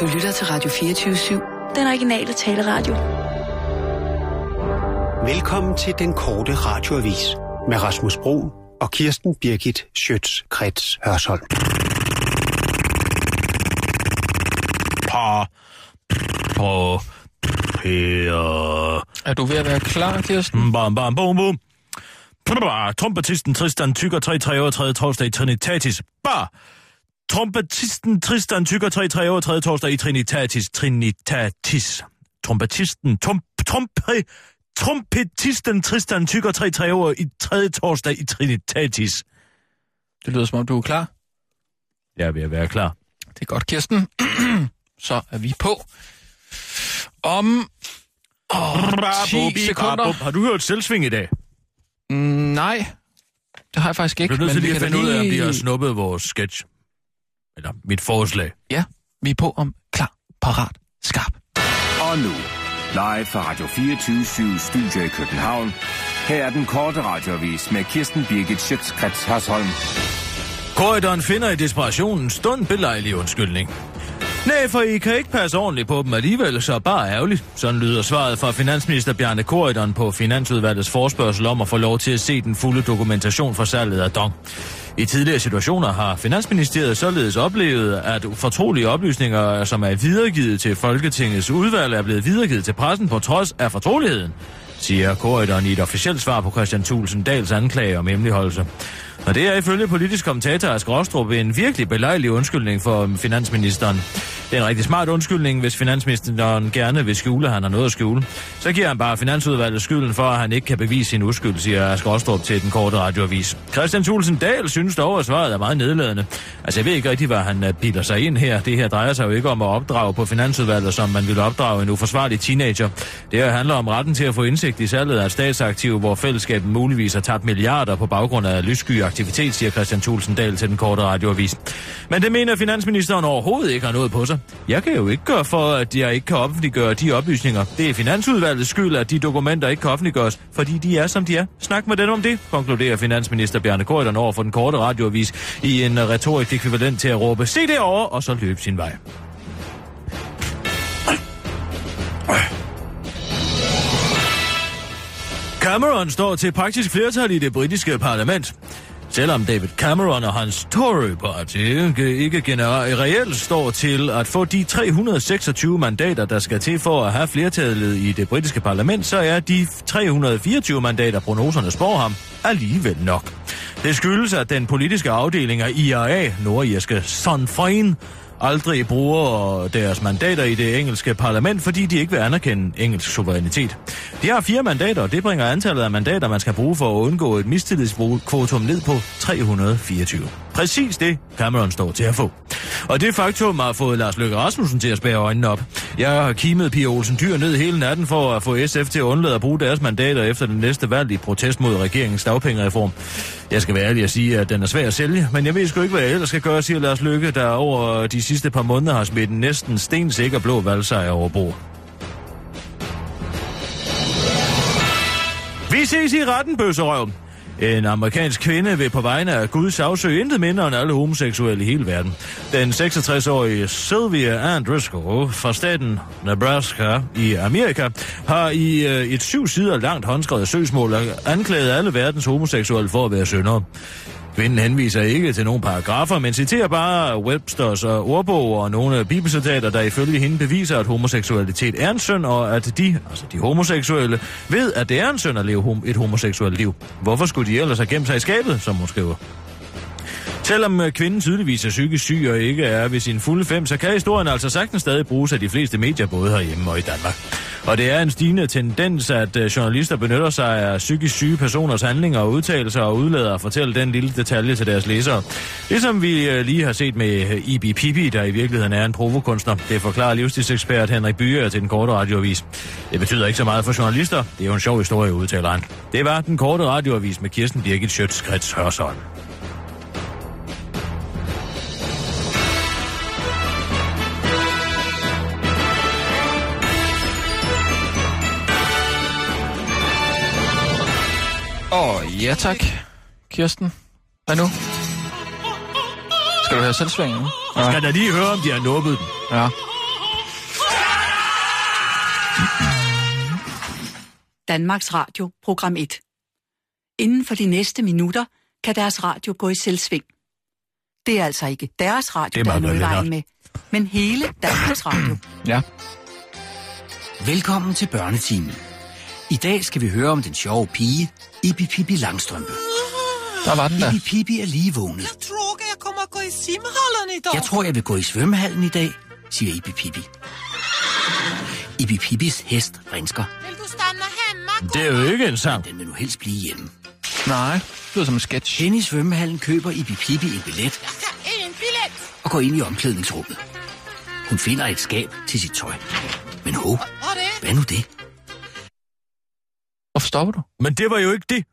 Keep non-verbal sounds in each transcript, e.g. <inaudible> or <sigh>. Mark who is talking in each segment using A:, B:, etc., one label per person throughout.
A: Du lytter til Radio 24-7.
B: Den originale taleradio.
C: Velkommen til den korte radioavis med Rasmus Bro og Kirsten Birgit Schøtz-Krets Hørsholm.
D: Par. På. Per.
E: Er du ved at være klar, Kirsten?
D: Bam, bam, bum, bum. Trompetisten Tristan Tykker 333 torsdag i Trinitatis. Bar. Trompetisten Tristan Tykker 333 torsdag i Trinitatis. Trinitatis. Trompetisten. Trump, trompe, trompetisten Tristan Tykker 33 i tredje torsdag i Trinitatis.
E: Det lyder som om, du er klar.
D: Jeg er ved at være klar.
E: Det er godt, Kirsten. <clears throat> Så er vi på. Om
D: Bravo,
E: 10
D: bi-
E: sekunder.
D: bravo. Har du hørt selvsving i dag?
E: Mm, nej, det har jeg faktisk
D: Vi
E: ikke.
D: er nødt til
E: vi
D: lige at
E: kan da
D: finde ud af, om vi
E: lige-
D: har snuppet vores sketch. Eller mit forslag.
E: Ja, vi er på om klar, parat, skarp.
F: Og nu, live fra Radio 24 Studio i København. Her er den korte radiovis med Kirsten Birgit Schøtzgrads Hasholm.
D: Korridoren finder i desperationen stund belejlig undskyldning. Nej, for I kan ikke passe ordentligt på dem alligevel, så bare ærgerligt. Sådan lyder svaret fra finansminister Bjarne Korridoren på Finansudvalgets forspørgsel om at få lov til at se den fulde dokumentation for salget af Dong. I tidligere situationer har Finansministeriet således oplevet, at fortrolige oplysninger, som er videregivet til Folketingets udvalg, er blevet videregivet til pressen på trods af fortroligheden, siger Korridoren i et officielt svar på Christian Thulsen Dals anklage om hemmeligholdelse. Og det er ifølge politisk kommentator Ask Rostrup en virkelig belejlig undskyldning for finansministeren. Det er en rigtig smart undskyldning, hvis finansministeren gerne vil skjule, at han har noget at skjule. Så giver han bare finansudvalget skylden for, at han ikke kan bevise sin uskyld, siger Ask Rostrup til den korte radioavis. Christian Thulsen Dahl synes dog, at svaret er meget nedladende. Altså, jeg ved ikke rigtig, hvad han øh, bilder sig ind her. Det her drejer sig jo ikke om at opdrage på finansudvalget, som man ville opdrage en uforsvarlig teenager. Det her handler om retten til at få indsigt i salget af statsaktive, hvor fællesskabet muligvis har tabt milliarder på baggrund af lyssky aktivitet, siger Christian Thulsen Dahl til den korte radioavis. Men det mener finansministeren overhovedet ikke har noget på sig. Jeg kan jo ikke gøre for, at jeg ikke kan offentliggøre de oplysninger. Det er finansudvalgets skyld, at de dokumenter ikke kan offentliggøres, fordi de er, som de er. Snak med dem om det, konkluderer finansminister Bjarne Korydon over for den korte radioavis i en øh, retorisk ekvivalent til at råbe, se derovre, og så løbe sin vej. Cameron står til praktisk flertal i det britiske parlament. Selvom David Cameron og hans Tory Party ikke, ikke generelt reelt står til at få de 326 mandater, der skal til for at have flertallet i det britiske parlament, så er de 324 mandater, prognoserne spår ham, alligevel nok. Det skyldes, at den politiske afdeling af IRA, nordirske Sinn Féin, aldrig bruger deres mandater i det engelske parlament, fordi de ikke vil anerkende engelsk suverænitet. De har fire mandater, og det bringer antallet af mandater, man skal bruge for at undgå et mistillidskvotum ned på 324. Præcis det, Cameron står til at få. Og det faktum har fået Lars Løkke Rasmussen til at spære øjnene op. Jeg har kimet Pia Olsen Dyr ned hele natten for at få SF til at undlade at bruge deres mandater efter den næste valg i protest mod regeringens dagpengereform. Jeg skal være ærlig og sige, at den er svær at sælge, men jeg ved sgu ikke, hvad jeg ellers skal gøre, siger Lars Løkke, der over de sidste par måneder har smidt en næsten stensikker blå valgsejr over bord. Vi ses i retten, bøsserøv. En amerikansk kvinde vil på vegne af Gud sagsøge intet mindre end alle homoseksuelle i hele verden. Den 66-årige Sylvia Andrisco fra staten Nebraska i Amerika har i øh, et syv sider langt håndskrevet søgsmål anklaget alle verdens homoseksuelle for at være syndere. Kvinden henviser ikke til nogen paragrafer, men citerer bare Websters øh, ordbog og nogle bibelcitater, der ifølge hende beviser, at homoseksualitet er en synd, og at de, altså de homoseksuelle, ved, at det er en synd at leve hom- et homoseksuelt liv. Hvorfor skulle de ellers have gemt sig i skabet, som hun skriver? Selvom øh, kvinden tydeligvis er psykisk syg og ikke er ved sin fulde fem, så kan historien altså sagtens stadig bruges af de fleste medier, både herhjemme og i Danmark. Og det er en stigende tendens, at øh, journalister benytter sig af psykisk syge personers handlinger og udtalelser og udlader at fortælle den lille detalje til deres læsere. Ligesom vi øh, lige har set med øh, Ibi Pibi, der i virkeligheden er en provokunstner. Det forklarer livsstilsekspert Henrik Byer til den korte radioavis. Det betyder ikke så meget for journalister. Det er jo en sjov historie, udtaler han. Det var den korte radioavis med Kirsten Birgit Schøtz-Krets Hørsholm.
E: Og ja tak, Kirsten. Hvad nu? Skal du have selvsving? nu?
D: Skal da lige høre, om de har nubbet den.
E: Ja.
A: Danmarks Radio, program 1. Inden for de næste minutter kan deres radio gå i selvsving. Det er altså ikke deres radio,
D: Det
A: der er
D: mangler
A: noget i vejen med,
D: Lennart.
A: men hele Danmarks Radio.
E: Ja.
B: Velkommen til børnetimen. I dag skal vi høre om den sjove pige, Ibi Pippi Langstrømpe.
E: Der var den der.
B: Ibi Pippi er lige vågnet.
G: Jeg tror ikke, jeg kommer at gå i simhallerne i dag.
B: Jeg tror, jeg vil gå i svømmehallen i dag, siger Ibi Pippi. Ibi Pippis hest rinsker.
G: Vil du stanna hemma?
D: Det er jo ikke en sang.
B: Den vil nu helst blive hjemme.
E: Nej, det lyder som en sketch.
B: Hen i svømmehallen køber Ibi Pippi en billet
G: Jeg skal en billet.
B: og går ind i omklædningsrummet. Hun finder et skab til sit tøj. Men ho,
G: Hvad er det?
B: hvad nu det?
E: Hvorfor stopper du?
D: Men det var jo ikke det.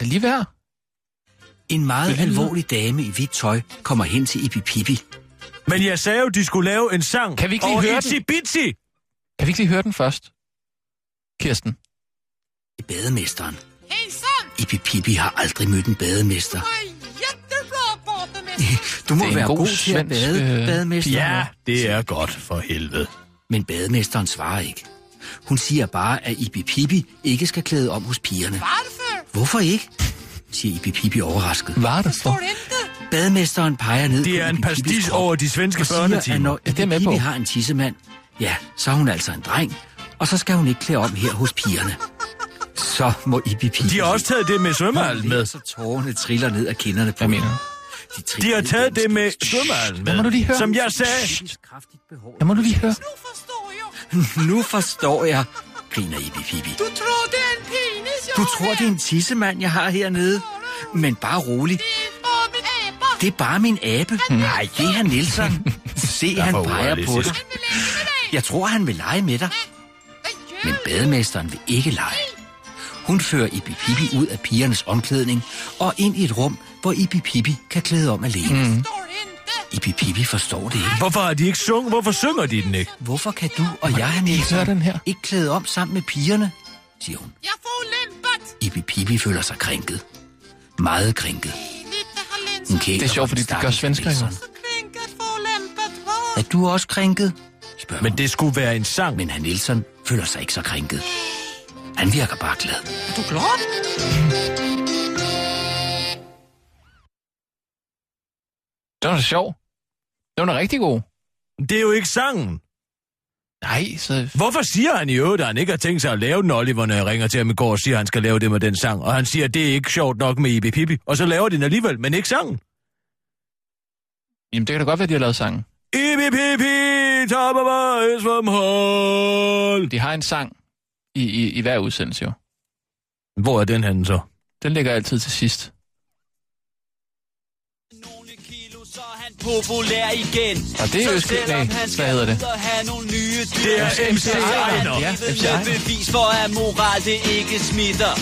E: Det er lige værd.
B: En meget
E: helvede.
B: alvorlig dame i hvidt tøj kommer hen til Ibi Pippi.
D: Men jeg sagde jo, de skulle lave en sang.
E: Kan vi ikke lige
D: over
E: høre
D: Itsy
E: den?
D: Bitsy.
E: Kan vi ikke lige høre den først? Kirsten.
B: Bademesteren.
G: En sådan.
B: Ibi Pippi har aldrig mødt en bademester.
G: Og Jättebra båtemester.
B: <laughs> Du må
E: Det er en
B: være
E: god
B: god, til at
E: svensk,
B: bade,
E: øh,
B: bademester.
D: Ja, det er godt for helvede.
B: Men bademesteren svarer ikke. Hun siger bare, at Ibi Pippi ikke skal klæde om hos pigerne.
G: Varför?
B: Hvorfor ikke? siger Ibi Pippi overrasket.
E: Var det for?
G: Står det ikke?
B: Bademesteren peger ned
D: Det
B: på
D: er en
B: Ibi Pippis
D: pastis
B: krop
D: over de svenske
B: og siger, at
D: børnetimer.
B: når
E: Ja, det er
B: Ibi
E: med
B: Pippi
E: på.
B: har en tissemand, ja, så er hun altså en dreng. Og så skal hun ikke klæde om her hos pigerne. Så må Ibi Pippi...
D: De har også taget det med svømmehallen
B: Hun
D: med.
B: ler, Så tårerne triller ned af kinderne på
E: Hvad mener
B: hende.
E: du?
B: De,
D: De
B: triller
D: har
B: ned
D: taget
B: gennem
D: det med
B: skinnet.
D: svømmehallen
E: Hvad må du lige
D: med.
E: høre?
D: Som jeg sagde,
B: Shh, kraftigt behåret.
E: Jeg må du lige høre.
G: Nu forstår jeg.
B: Nu forstår jeg, griner Ibi Pippi.
G: Du tror, det er en penis, jeg
B: Du
G: har
B: tror,
G: her.
B: det er en tissemand, jeg har hernede. Men bare rolig.
G: Det er bare min aber.
B: Det er bare min abe. Nej, det er han Nielsen. Se, han
D: for
B: peger på
D: urealistisk.
B: dig.
G: Han vil ikke med dig.
B: Jeg tror, han vil lege med dig.
G: Hvad gør
B: Men
G: du?
B: bademesteren vil ikke lege. Hun fører Ibi Pippi ud af pigernes omklædning og ind i et rum, hvor Ibi Pippi kan klæde om alene. Mm.
G: Står det ikke?
B: Ibi Pippi forstår det ikke.
D: hvorfor har de ikke sunget? Hvorfor synger de den ikke?
B: Hvorfor kan du og jeg, Nielsen,
E: høre den her?
B: ikke klæde om sammen med pigerne, siger hun.
G: Jeg får lempet.
B: Ibi Pippi føler sig krænket. Meget krænket.
G: Lite har linser.
B: Hun kan ikke
E: Det er sjovt,
B: komme
E: fordi det
B: stakkels
E: gør svensker,
B: Nielsen.
E: ikke?
G: Så krænket får lempet. Hvor?
B: Er du også krænket? Spørger
D: Men
B: hun.
D: det skulle være en sang.
B: Men herr Nielsen føler sig ikke så krænket. Han virker bare glad.
G: Er du klar?
E: Den var da sjov. Den var da rigtig god.
D: Det er jo ikke sangen.
E: Nej, så...
D: Hvorfor siger han i øvrigt, at han ikke har tænkt sig at lave den, Oliver, når jeg ringer til ham i går og siger, at han skal lave det med den sang? Og han siger, at det er ikke sjovt nok med Ibi Pippi. Og så laver de den alligevel, men ikke sangen.
E: Jamen, det kan da godt være, de har lavet sangen.
D: Ibi Pippi, top of us from hall.
E: De har en sang i, i, i hver udsendelse, jo.
D: Hvor er den henne så?
E: Den ligger altid til sidst.
H: Nogle kilo, så er han populær igen.
E: Og det er
H: Så
E: jo sket
H: selvom
E: med-
H: han
E: hvad hedder det?
H: skal ud og have nogle nye dyr,
D: Det er MC
H: så har han
D: Ejner.
E: Ja,
H: givet
E: MC
H: med
E: Ejner.
H: bevis for, at moral det ikke smitter.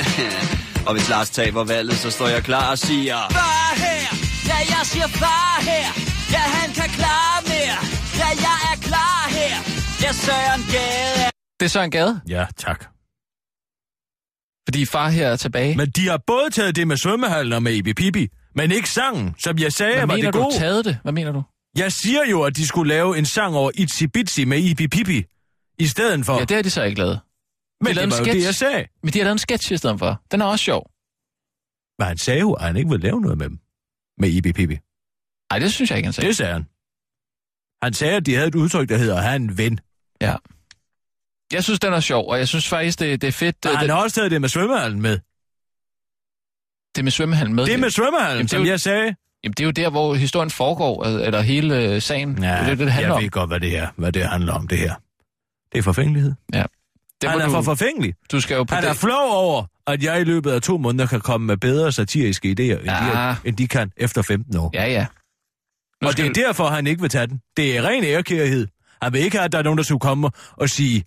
H: <laughs> og hvis Lars taber valget, så står jeg klar og siger... Far her! Ja, jeg siger far her! Ja, han kan klare mere! Ja, jeg er klar her! Ja, Søren Gade er...
E: Det er Søren Gade,
D: Ja, tak.
E: fordi far her er tilbage.
D: Men de har både taget det med svømmehallen og med Ibi Pippi, men ikke sangen, som jeg sagde,
E: Hvad
D: var
E: mener
D: det
E: du,
D: gode.
E: taget det? Hvad mener du?
D: Jeg siger jo, at de skulle lave en sang over Itzy Bitsy med Ibi Pippi. I stedet for.
E: Ja, det har de så ikke lavet.
D: men
E: lavede
D: det var
E: en
D: jo
E: sketch.
D: det, jeg sagde.
E: Men de har lavet en sketch i stedet for. Den er også sjov.
D: Men han sagde jo, at han ikke ville lave noget med dem. Med Ibi Pippi.
E: Nej, det synes jeg ikke, han sagde.
D: Det sagde han. Han sagde, at de havde et udtryk, der hedder, at han er en ven.
E: Jeg synes, den er sjov, og jeg synes faktisk, det, det er fedt,
D: Og
E: det,
D: han
E: det,
D: har også taget det med svømmehallen med.
E: det med svømmehallen med.
D: Det med svømmehallen,
E: Jamen, det er
D: som
E: jo-
D: jeg sagde.
E: Jamen, det er jo der, hvor historien foregår, al- eller hele øh, sagen. Ja, det er jo det, det handler
D: jeg
E: om.
D: ved godt, hvad det er, hvad det handler om, det her. Det er forfængelighed.
E: Det
D: Det
E: må
D: han er
E: du,
D: for forfængelig.
E: du skal jo på
D: Han er
E: det.
D: flov over, at jeg i løbet af to måneder kan komme med bedre satiriske idéer, end,
E: Ja.
D: de, end de kan efter 15 år.
E: Ja, ja. Nu
D: og
E: skal
D: det er
E: du-
D: derfor, han ikke vil tage den. Det er ren ærekærhed. Han vil ikke have, at der er nogen, der skulle komme og sige,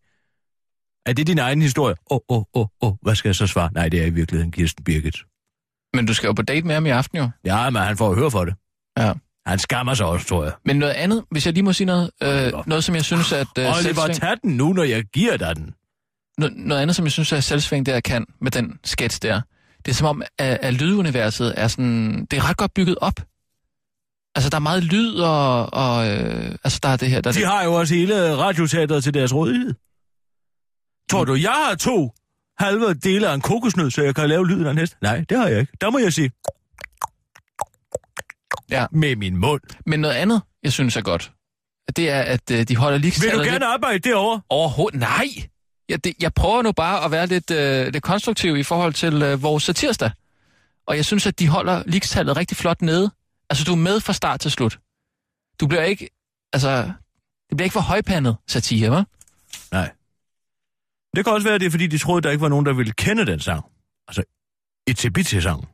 D: er det din egen historie? Åh, oh, åh, oh, åh, oh, oh. hvad skal jeg så svare? Nej, det er i virkeligheden Kirsten Birgit.
E: Men du skal jo på date med ham i aften, jo.
D: Ja, men han får jo høre for det.
E: Ja.
D: Han skammer sig også, tror jeg.
E: Men noget andet, hvis jeg lige må sige noget, øh,
D: Oliver.
E: noget som jeg synes, at øh,
D: Oliver,
E: selvsving,
D: tag den nu, når jeg giver dig den.
E: Altså- no, noget andet, som jeg synes, at selvsving der kan med den sketch der, det er som om, at, at lyduniverset er sådan, det er ret godt bygget op. Altså, der er meget lyd, og, og øh, altså, der er det her, der er
D: De
E: det.
D: har jo også hele radioteateret til deres rådighed. Tror du, jeg har to halve dele af en kokosnød, så jeg kan lave lyden af en hest? Nej, det har jeg ikke. Der må jeg sige...
E: Ja.
D: Med min mund.
E: Men noget andet, jeg synes er godt, det er, at øh, de holder
D: Vil
E: ligestallet
D: du gerne arbejde derovre?
E: Overhovedet, nej! Jeg, det, jeg prøver nu bare at være lidt, øh, lidt konstruktiv i forhold til øh, vores satirsdag. Og jeg synes, at de holder ligestallet rigtig flot nede. Altså, du er med fra start til slut. Du bliver ikke, altså, det bliver ikke for højpandet satire, hva'?
D: Nej. Det kan også være, at det er, fordi de troede, der ikke var nogen, der ville kende den sang. Altså, Itsibitsi-sang.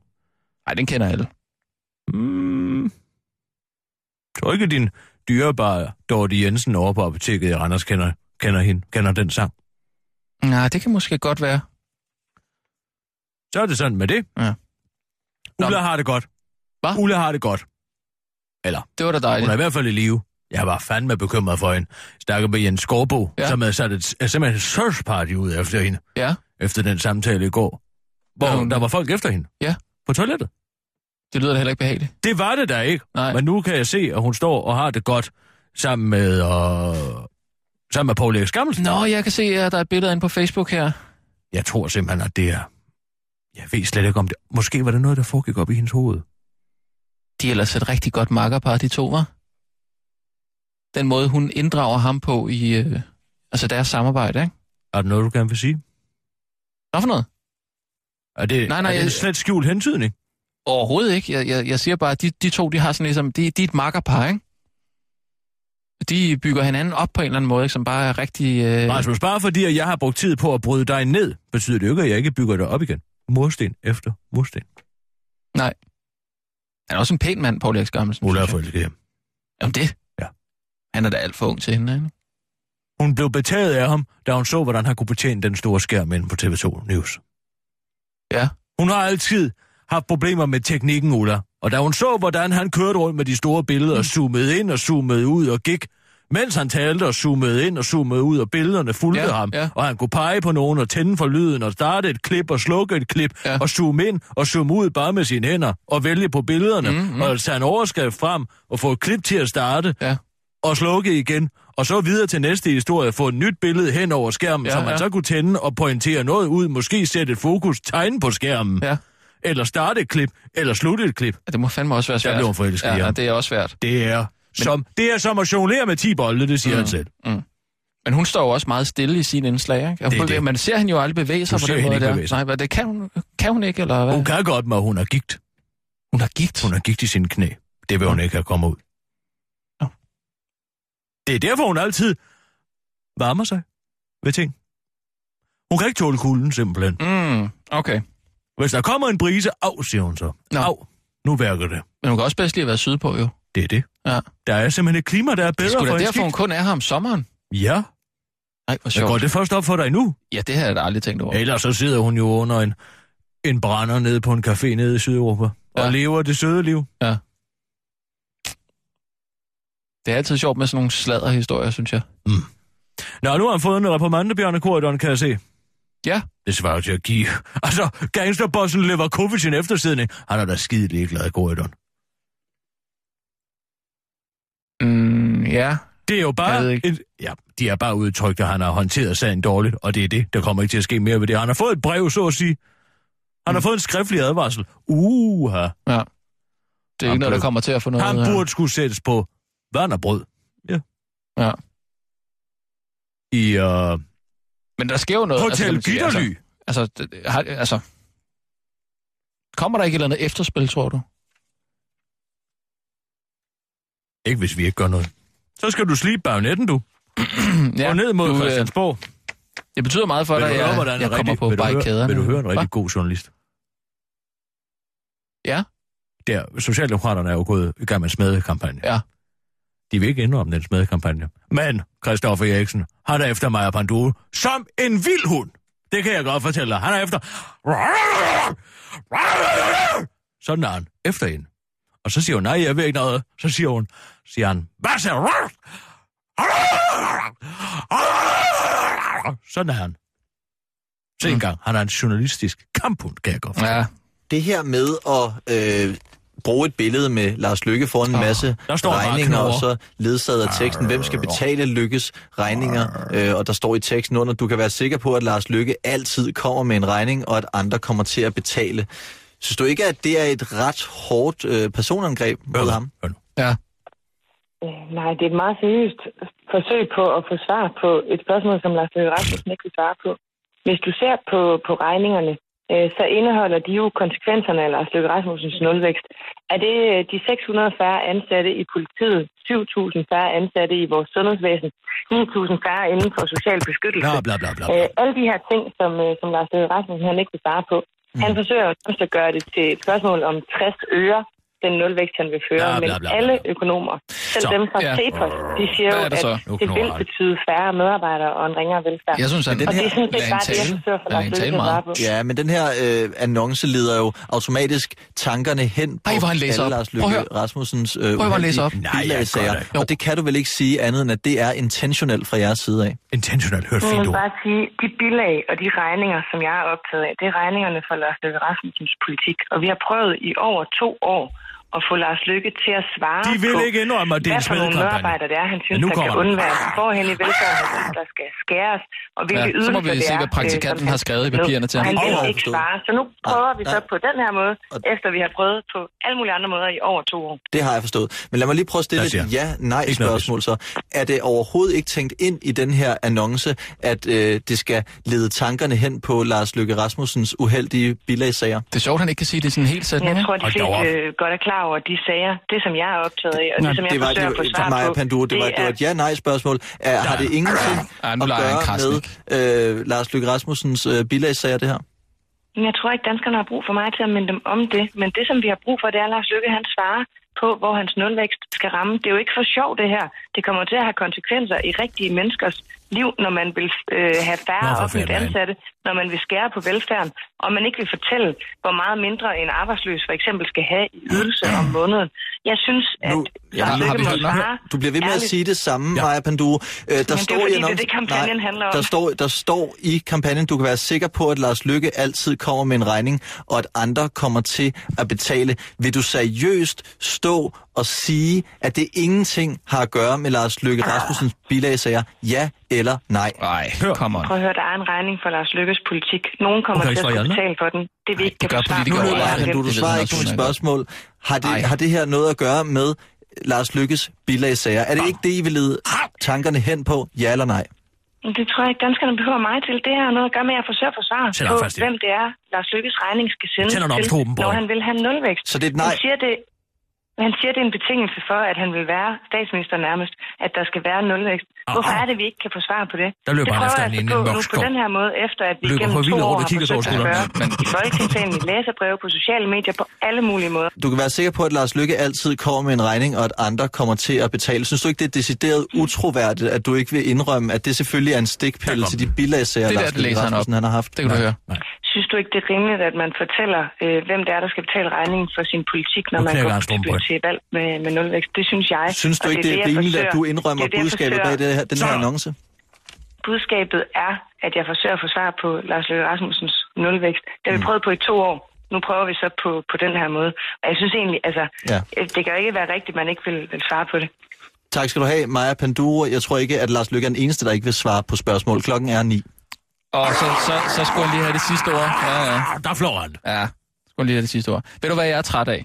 E: Nej, den kender alle.
D: Mm. Tror ikke, din dyrebare Dorte Jensen over på apoteket i Randers kender, kender, hende, kender den sang.
E: Nej, det kan måske godt være.
D: Så er det sådan med det.
E: Ja. Nå,
D: Ulla
E: men-
D: har det godt.
E: Hva?
D: Ulla har det godt. Eller,
E: Det var da
D: hun er i
E: dejligt.
D: hvert fald i live. Jeg var fandme bekymret for hende. Stakker med Jens Skorbo, ja.
E: Ja.
D: som havde sat et, øh, simpelthen et search party ud efter hende,
E: Ja,
D: efter den samtale i går, hvor
E: Ja,
D: ja,
E: hun-
D: der var folk efter hende.
E: Ja.
D: På toilettet.
E: det lyder da heller ikke behageligt.
D: Det var det da ikke.
E: Nej.
D: Men nu kan jeg se, at hun står og har det godt sammen med, øh, sammen med Paul Erik Skammelsen.
E: Nå, jeg kan se, at der er et billede inde på Facebook her.
D: Jeg tror simpelthen, at det er... Jeg ved slet ikke om det... Måske var det noget, der foregik op i hendes hoved.
E: De er ellers et rigtig godt makkerpar, de to, var. Den måde, hun inddrager ham på i øh, altså deres samarbejde, ikke?
D: Er det noget, du gerne vil sige?
E: Hvad for noget?
D: Er det,
E: Nej, nej,
D: er det en
E: jeg-
D: slet skjult hentydning?
E: Overhovedet ikke. Jeg, jeg, jeg siger bare, at de, de to, de har sådan ligesom, de, de er et makkerpar, ikke? De bygger hinanden op på en eller anden måde, ikke? som bare er rigtig... Øh...
D: Rasmus, bare fordi at jeg har brugt tid på at bryde dig ned, betyder det jo ikke, at jeg ikke bygger dig op igen. Mursten efter mursten.
E: Han er også en pæn mand, Paul Erik Skammelsen.
D: Ulla er
E: synes jeg.
D: forelsket i ham.
E: Jamen det?
D: Ja.
E: Han er da alt for ung til hende, ikke?
D: Hun blev betaget af ham, da hun så, hvordan han kunne betjene den store skærm inde på TV2 News.
E: Ja.
D: Hun har altid haft problemer med teknikken, Ulla. Og da hun så, hvordan han kørte rundt med de store billeder,
E: Mm.
D: og zoomede ind og zoomede ud og gik, mens han talte og zoomede ind og zoomede ud, og billederne fulgte
E: Ja,
D: ham,
E: ja.
D: og han kunne pege på nogen og tænde for lyden og starte et klip og slukke et klip,
E: Ja.
D: og zoome ind og zoome ud bare med sine hænder, og vælge på billederne,
E: Mm, mm.
D: og tage en overskrift frem, og få et klip til at starte,
E: Ja.
D: og slukke igen, og så videre til næste historie, få et nyt billede hen over skærmen,
E: Ja,
D: ja, som man
E: ja.
D: så kunne tænde og pointere noget ud, måske sætte et fokus, tegne på skærmen
E: Ja.
D: eller starte et klip, eller slutte et klip.
E: Det må fandme også være svært.
D: blev hun forelsket i
E: ja, ja,
D: ham.
E: det er også svært.
D: Det er, som, det er som at jonglere med 10 bolde, det siger mm. han selv.
E: Men hun står jo også meget stille i sine indslag, ikke?
D: Det er
E: Det
D: det.
E: Man ser hende jo aldrig bevæge sig
D: Du
E: på
D: ser
E: den
D: hende
E: måde
D: ikke
E: der.
D: bevæge sig.
E: Nej, hvad, det kan hun, kan hun ikke, eller hvad?
D: Hun kan godt, men hun har gigt.
E: hun har gigt.
D: Hun har gigt i sine knæ. Det vil hun ikke have kommet ud.
E: Nå.
D: Det er derfor, hun altid varmer sig ved ting. Hun kan ikke tåle kulden, simpelthen.
E: Mm, okay.
D: Hvis der kommer en brise, af, siger hun så.
E: Nå.
D: Af, nu værker det.
E: Men hun kan også bedst lige være sydpå, jo.
D: Det er det.
E: Ja.
D: Der er simpelthen et klima, der er
E: Det er
D: bedre
E: sgu
D: for
E: da
D: hendes
E: derfor, hun
D: gigt.
E: kun er her om sommeren.
D: Ja,
E: Nej, hvor
D: så går
E: sjovt.
D: det først op for dig nu.
E: Ja, det har jeg da aldrig tænkt over.
D: Ellers så sidder hun jo under en, en brænder nede på en café nede i Sydeuropa. Ja.
E: Ja.
D: Og lever det søde liv.
E: Det er altid sjovt med sådan nogle sladderhistorier, synes jeg. Mm,
D: Nå, nu har han fået en reprimande, Bjarne Korydon, kan jeg se.
E: Ja.
D: Det svarer jo til at give. <laughs> Altså, gangsterbossen Leverkovic en eftersidning. Han er da skide ligeglad, Korydon.
E: Mm, ja.
D: Det er jo
E: Jeg ved
D: bare...
E: ikke.
D: Et, ja, de er bare udtrykt, at han har håndteret sagen dårligt, og det er det. Der kommer ikke til at ske mere ved det. Han har fået et brev, så at sige. Han har fået en skriftlig advarsel. Uha.
E: Det er
D: Han
E: ikke noget, der
D: burde-
E: kommer til at få noget...
D: Han
E: ud af.
D: burde skulle sættes på vand og brød. Ja.
E: Ja.
D: I øh,
E: Men der sker jo noget.
D: Hotel
E: kan Altså, man sige,
D: Gitterly.
E: Altså, altså, det- det- har- altså, kommer der ikke et eller andet efterspil, tror du?
D: Mm, Ikke hvis vi ikke gør noget. Så skal du slibe bagnetten, du. Ja, og ned mod
E: du, øh,
D: Christiansborg.
E: Det betyder meget for
D: vil
E: dig,
D: du
E: at
D: høre,
E: jeg,
D: hvordan
E: jeg
D: en
E: kommer
D: rigtig,
E: på
D: vil du høre,
E: barrikaderne.
D: vil du høre en
E: Hva?
D: rigtig god journalist?
E: Ja.
D: Der, Socialdemokraterne er jo gået i gang med en smedekampagne.
E: Ja.
D: De vil ikke indrømme den smedekampagne. Men Christoffer Eriksen har der efter Maja Panduro som en vild hund. Det kan jeg godt fortælle dig. Han er efter... Sådan er han. Efter hende. Og så siger hun, nej, jeg ved ikke noget. Så siger hun, siger han, hvad siger du? Sådan er han. Se
B: Mm.
D: engang, han er en journalistisk kamphund, kan jeg godt forstå.
E: Ja,
I: det her med at øh,
B: bruge et billede med Lars Lykke foran en masse
D: Der står bare
B: regninger,
D: knurre.
B: og så ledsaget af teksten, hvem skal betale Lykkes regninger, øh, og der står i teksten under, du kan være sikker på, at Lars Lykke altid kommer med en regning, og at andre kommer til at betale. Synes du ikke, at det er et ret hårdt øh, personangreb mod ham?
D: Hør nu.
E: Ja.
J: Øh, Nej, det er et meget seriøst forsøg på at få svar på et spørgsmål, som Lars Løkke Rasmussen ikke vil svare på. Hvis du ser på, på regningerne, øh, så indeholder de jo konsekvenserne af Lars Løkke Rasmussens nulvækst. Er det øh, de 600 færre ansatte i politiet, 7.000 færre ansatte i vores sundhedsvæsen, 9.000 færre inden for social beskyttelse?
D: Bla, bla, bla, bla.
J: Øh, alle de her ting, som, øh, som Lars Løkke Rasmussen han ikke vil svare på. Mm. Han forsøger jo nærmest at gøre det til et spørgsmål om 60 øre, den nulvækst, han vil føre.
D: Ja, bla,
J: Ja, men
D: bla, bla, bla.
J: alle økonomer, selv
D: Så,
J: så, dem fra
E: ja.
J: ja. CEPOS, de siger jo,
E: Hvad er
J: at
E: det så?
J: det vil
D: Økonomer.
J: betyde færre medarbejdere og en ringere velfærd.
E: Jeg synes, han
B: Men den
J: og det er sådan
E: lader
J: set
E: hende
J: bare det, jeg
E: tale.
J: forsøger for
E: Lader hende
J: Lars Løkke
E: tale
J: at
E: meget.
J: svare på.
B: Ja, men den her øh, annonce leder jo automatisk tankerne hen på
E: Ej, hvor han læser
B: alle
E: op.
B: Lars
E: Prøv at
B: Løkke
E: høre.
B: Rasmussens øh,
E: hvor han læser
B: uheldige
E: op.
D: Nej, jeg
B: bilagssager.
D: gør det.
E: Jo.
B: Og det kan du vel ikke sige andet, end at det er intentionelt fra jeres side af.
D: Intentionelt hørt
J: Jeg
D: fint
J: vil
D: ord.
J: bare sige, de bilag og de regninger, som jeg er optaget af, det er regningerne for Lars Løkke Rasmussens politik. Og vi har prøvet i over to år at få Lars Løkke til at svare
D: De vil
J: på,
D: ikke indrømme, at det er en
J: hvad for nogle
D: smedekampagne.
J: medarbejdere det er, han synes,
D: nu
J: der kan
D: kommer den.
J: undværes. Hvorhen i velfærden, der skal skæres, og hvilke
E: Ja, så må
J: ydelser
E: vi
J: det
E: se,
J: er.
E: hvad praktikanten
J: øh, som
E: har skrevet i
J: han-
E: papirerne til ham.
J: Han vil
B: Overhovedet
J: ikke
B: forstået.
J: svare, så nu prøver vi så
B: nej.
J: på den her måde,
B: Og-
J: efter vi har prøvet på alle mulige andre måder i over to år.
B: Det har jeg forstået. Men lad mig lige prøve at stille
D: Hvad siger
B: et ja-nej
D: Ikke noget
B: spørgsmål så. Er det overhovedet ikke tænkt ind i den her annonce, at øh, det skal lede tankerne hen på Lars Løkke Rasmussens uheldige bilagssager?
E: Det er sjovt, han ikke kan sige det i sådan en hel
J: Men
E: sætning.
J: jeg
E: ikke?
J: tror, de
D: Hold da
J: fleste
D: op.
J: øh, godt er klar over de sager. Det, som jeg er optaget af, og det,
E: Nå,
J: som jeg
B: Det var, det
J: forsøger
B: var,
J: at få svar
B: for Maja
J: på,
B: Panduro, det var, det var et ja-nej-spørgsmål. Er, har det ingenting
E: Ej, nu
B: at
E: leger han
B: gøre
E: Krasnik.
B: med øh, Lars Løkke Rasmussens øh, bilagssager, det her?
J: Men jeg tror ikke, danskerne har brug for mig til at minde dem om det. Men det, som vi har brug for, det er, at Lars Lykke han svarer på, hvor hans nulvækst skal ramme. Det er jo ikke for sjov, det her. Det kommer til at have konsekvenser i rigtige menneskers liv, når man vil øh, have færre
D: Nå, for
J: offentligt
D: fanden.
J: ansatte, når man vil skære på velfærden, og man ikke vil fortælle, hvor meget mindre en arbejdsløs for eksempel skal have i ydelse om måneden. Jeg synes, at
B: Nu-
J: Lars
B: Ja,
E: har
J: Lykke
E: vi
J: må
E: hørt nok?
J: svare.
B: Du bliver ved med at
J: ærligt.
B: sige det samme, ja. Maja Panduro. Øh, der
J: er
B: står
J: fordi,
B: i
J: det er
B: annoncen-
J: det, kampagnen handler om.
B: Der står, der står i kampagnen, du kan være sikker på, at Lars Lykke altid kommer med en regning, og at andre kommer til at betale. Vil du seriøst stå og sige, at det ingenting har at gøre med Lars Lykke Rasmussens bilagsager? Ja eller nej?
E: Ej,
D: Hør.
E: kom on.
J: Prøv at høre, der er en regning for Lars Lykkes politik. Nogen kommer
D: Okay,
J: til at
D: så
J: skulle
D: Janne.
J: betale for den. Det vi ikke
E: det
J: kan
E: gør
J: få svar
E: politikere
B: Nu
J: på.
E: overalt.
B: leger
J: Det er
B: han, du,
E: Det
B: du
E: ved
B: svarer
E: han
B: ikke på
E: også
B: mit
E: udmærket godt.
B: spørgsmål. Har
E: Ej.
B: det, har det her noget at gøre med Lars Lykkes bilagsager? Er det ikke det, I vil lede tankerne hen på? Ja eller nej?
J: Men Det tror jeg ikke, danskerne behøver mig til. Det har noget at gøre med, at jeg forsøger at forsvare
D: Sæt dig
J: på,
D: fast i.
J: hvem det er, Lars Lykkes regning skal sendes
D: Tænder du op,
J: til,
D: Torben Borg?
J: når han vil have nulvækst.
B: Så det er et
J: Han
B: nej.
J: siger det, han siger, det er en betingelse for, at han vil være statsminister nærmest, at der skal være nulvækst. Hvorfor
D: ah.
J: er det, vi ikke kan få svar på det?
D: Der løber
J: det
D: han efter
J: prøver jeg
D: en
J: altså
D: inden
J: på nu
D: mørk
J: på
D: skov.
J: den her måde, efter at vi
D: Løber
J: igennem
D: på
J: to
D: Villerup
J: år
D: og
J: har
D: kigger sig over
J: forsøgt at
D: skulderen.
J: spørge i Folketingssalen, i læserbreve, på sociale medier, på alle mulige måder.
B: Du kan være sikker på, at Lars Lykke altid kommer med en regning, og at andre kommer til at betale. Synes du ikke, det er decideret
E: Mm.
B: utroværdigt, at du ikke vil indrømme, at det selvfølgelig er en stikpille til de bilagsager,
E: Det er der,
B: Lars
E: det
B: Løkke
E: læser han op.
B: Rasmussen han har haft?
E: Det kan du høre.
J: Synes du ikke, det er rimeligt, at man fortæller, øh, hvem det er, der skal betale regningen for sin politik, når
D: Nu
J: man
D: knækker
J: går
D: han strømpen på
J: til- til valg med, med nulvækst? Det synes jeg.
B: Synes du
J: og
B: ikke, det er
J: jeg
B: rimeligt, at
J: forsøger-
B: du indrømmer
J: det er det, jeg
B: budskabet
J: forsøger.
B: bag det her, den her
D: Så-
B: annonce?
J: Budskabet er, at jeg forsøger at få svar på Lars Løkke Rasmussens nulvækst. Det
B: Mm.
J: har vi prøvet på i to år. Nu prøver vi så på, på den her måde. Og jeg synes egentlig, altså,
B: Ja.
J: ja. det kan jo ikke være rigtigt, at man ikke vil, vil svare på det.
B: Tak skal du have, Maja Panduro. Jeg tror ikke, at Lars Lykke er den eneste, der ikke vil svare på spørgsmål. Klokken er ni.
E: Og så, så, så skulle han lige have det sidste ord. Ja, ja.
D: Ah, Der flår han,
E: Ja, skulle han lige have det sidste ord. Ved du, hvad jeg er træt af?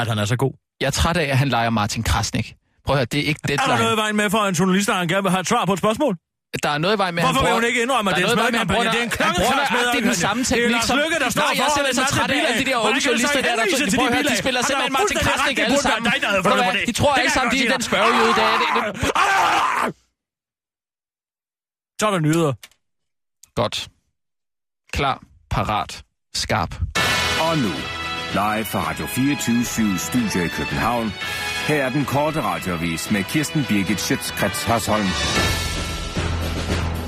D: at han er så god.
E: Jeg er træt af, at han leger Martin Krasnik. Prøv at høre, det er ikke
D: Er der noget i
E: deadline.
D: vejen med for en journalist, der han gerne vil have et svar på et spørgsmål?
E: Der er noget i vejen med, at
D: Hvorfor vil
E: bruger-
D: hun ikke indrømme, at
E: Der
D: det er en
E: noget i vejen med, at han
D: smedekampagne?
E: bruger-
D: Det er en
E: han bruger
D: klokkeklar
E: nøjagtigt den samme
D: Det er
E: teknik,
D: Lars
E: som-
D: Løkke, der står
E: Nej, jeg er
D: foran
E: simpelthen
D: en
E: så
D: masse
E: træt af alle de der
D: bilag.
E: unge
D: Hvordan kan du så
E: journalister der, der-
D: henvise til
E: Prøv at høre,
D: bilag?
E: de spiller
D: Han har
E: simpelthen Martin
D: fuldstændig ret.
E: Krasnik
D: Det
E: alle
D: burde være
E: sammen.
D: dig, der havde
E: Ved du
D: fundet
E: hvad,
D: på det.
E: de tror
D: Det
E: alle
D: kan
E: sammen,
D: jeg
E: de er
D: godt sige
E: den
D: dig.
E: spørgejøde, der er det. Det-
D: Ah! Så er der nyheder.
E: Godt. Klar, parat, skarp.
F: Og nu, live fra Radio 24 Studio i København. Her er den korte radiovis med Kirsten Birgit Schøtzgrads Hasholm.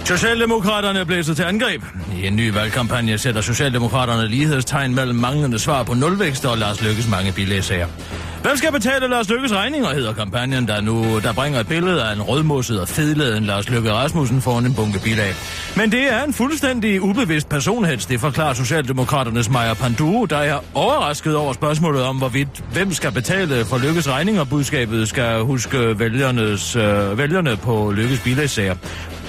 D: Socialdemokraterne blæser til angreb. I en ny valgkampagne sætter Socialdemokraterne lighedstegn mellem manglende svar på nulvækst og Lars Lykkes mange bilæsager. Hvem skal betale Lars Lykkes regninger, hedder kampagnen, der nu der bringer et billede af en rødmosset og fedladen Lars Lykke Rasmussen foran en bunke bilag. Men det er en fuldstændig ubevidst personhets, det forklarer Socialdemokraternes Maja Panduro, der er overrasket over spørgsmålet om, hvorvidt hvem skal betale for Lykkes regninger. Budskabet skal huske vælgernes, øh, vælgerne på Lykkes bilagssager.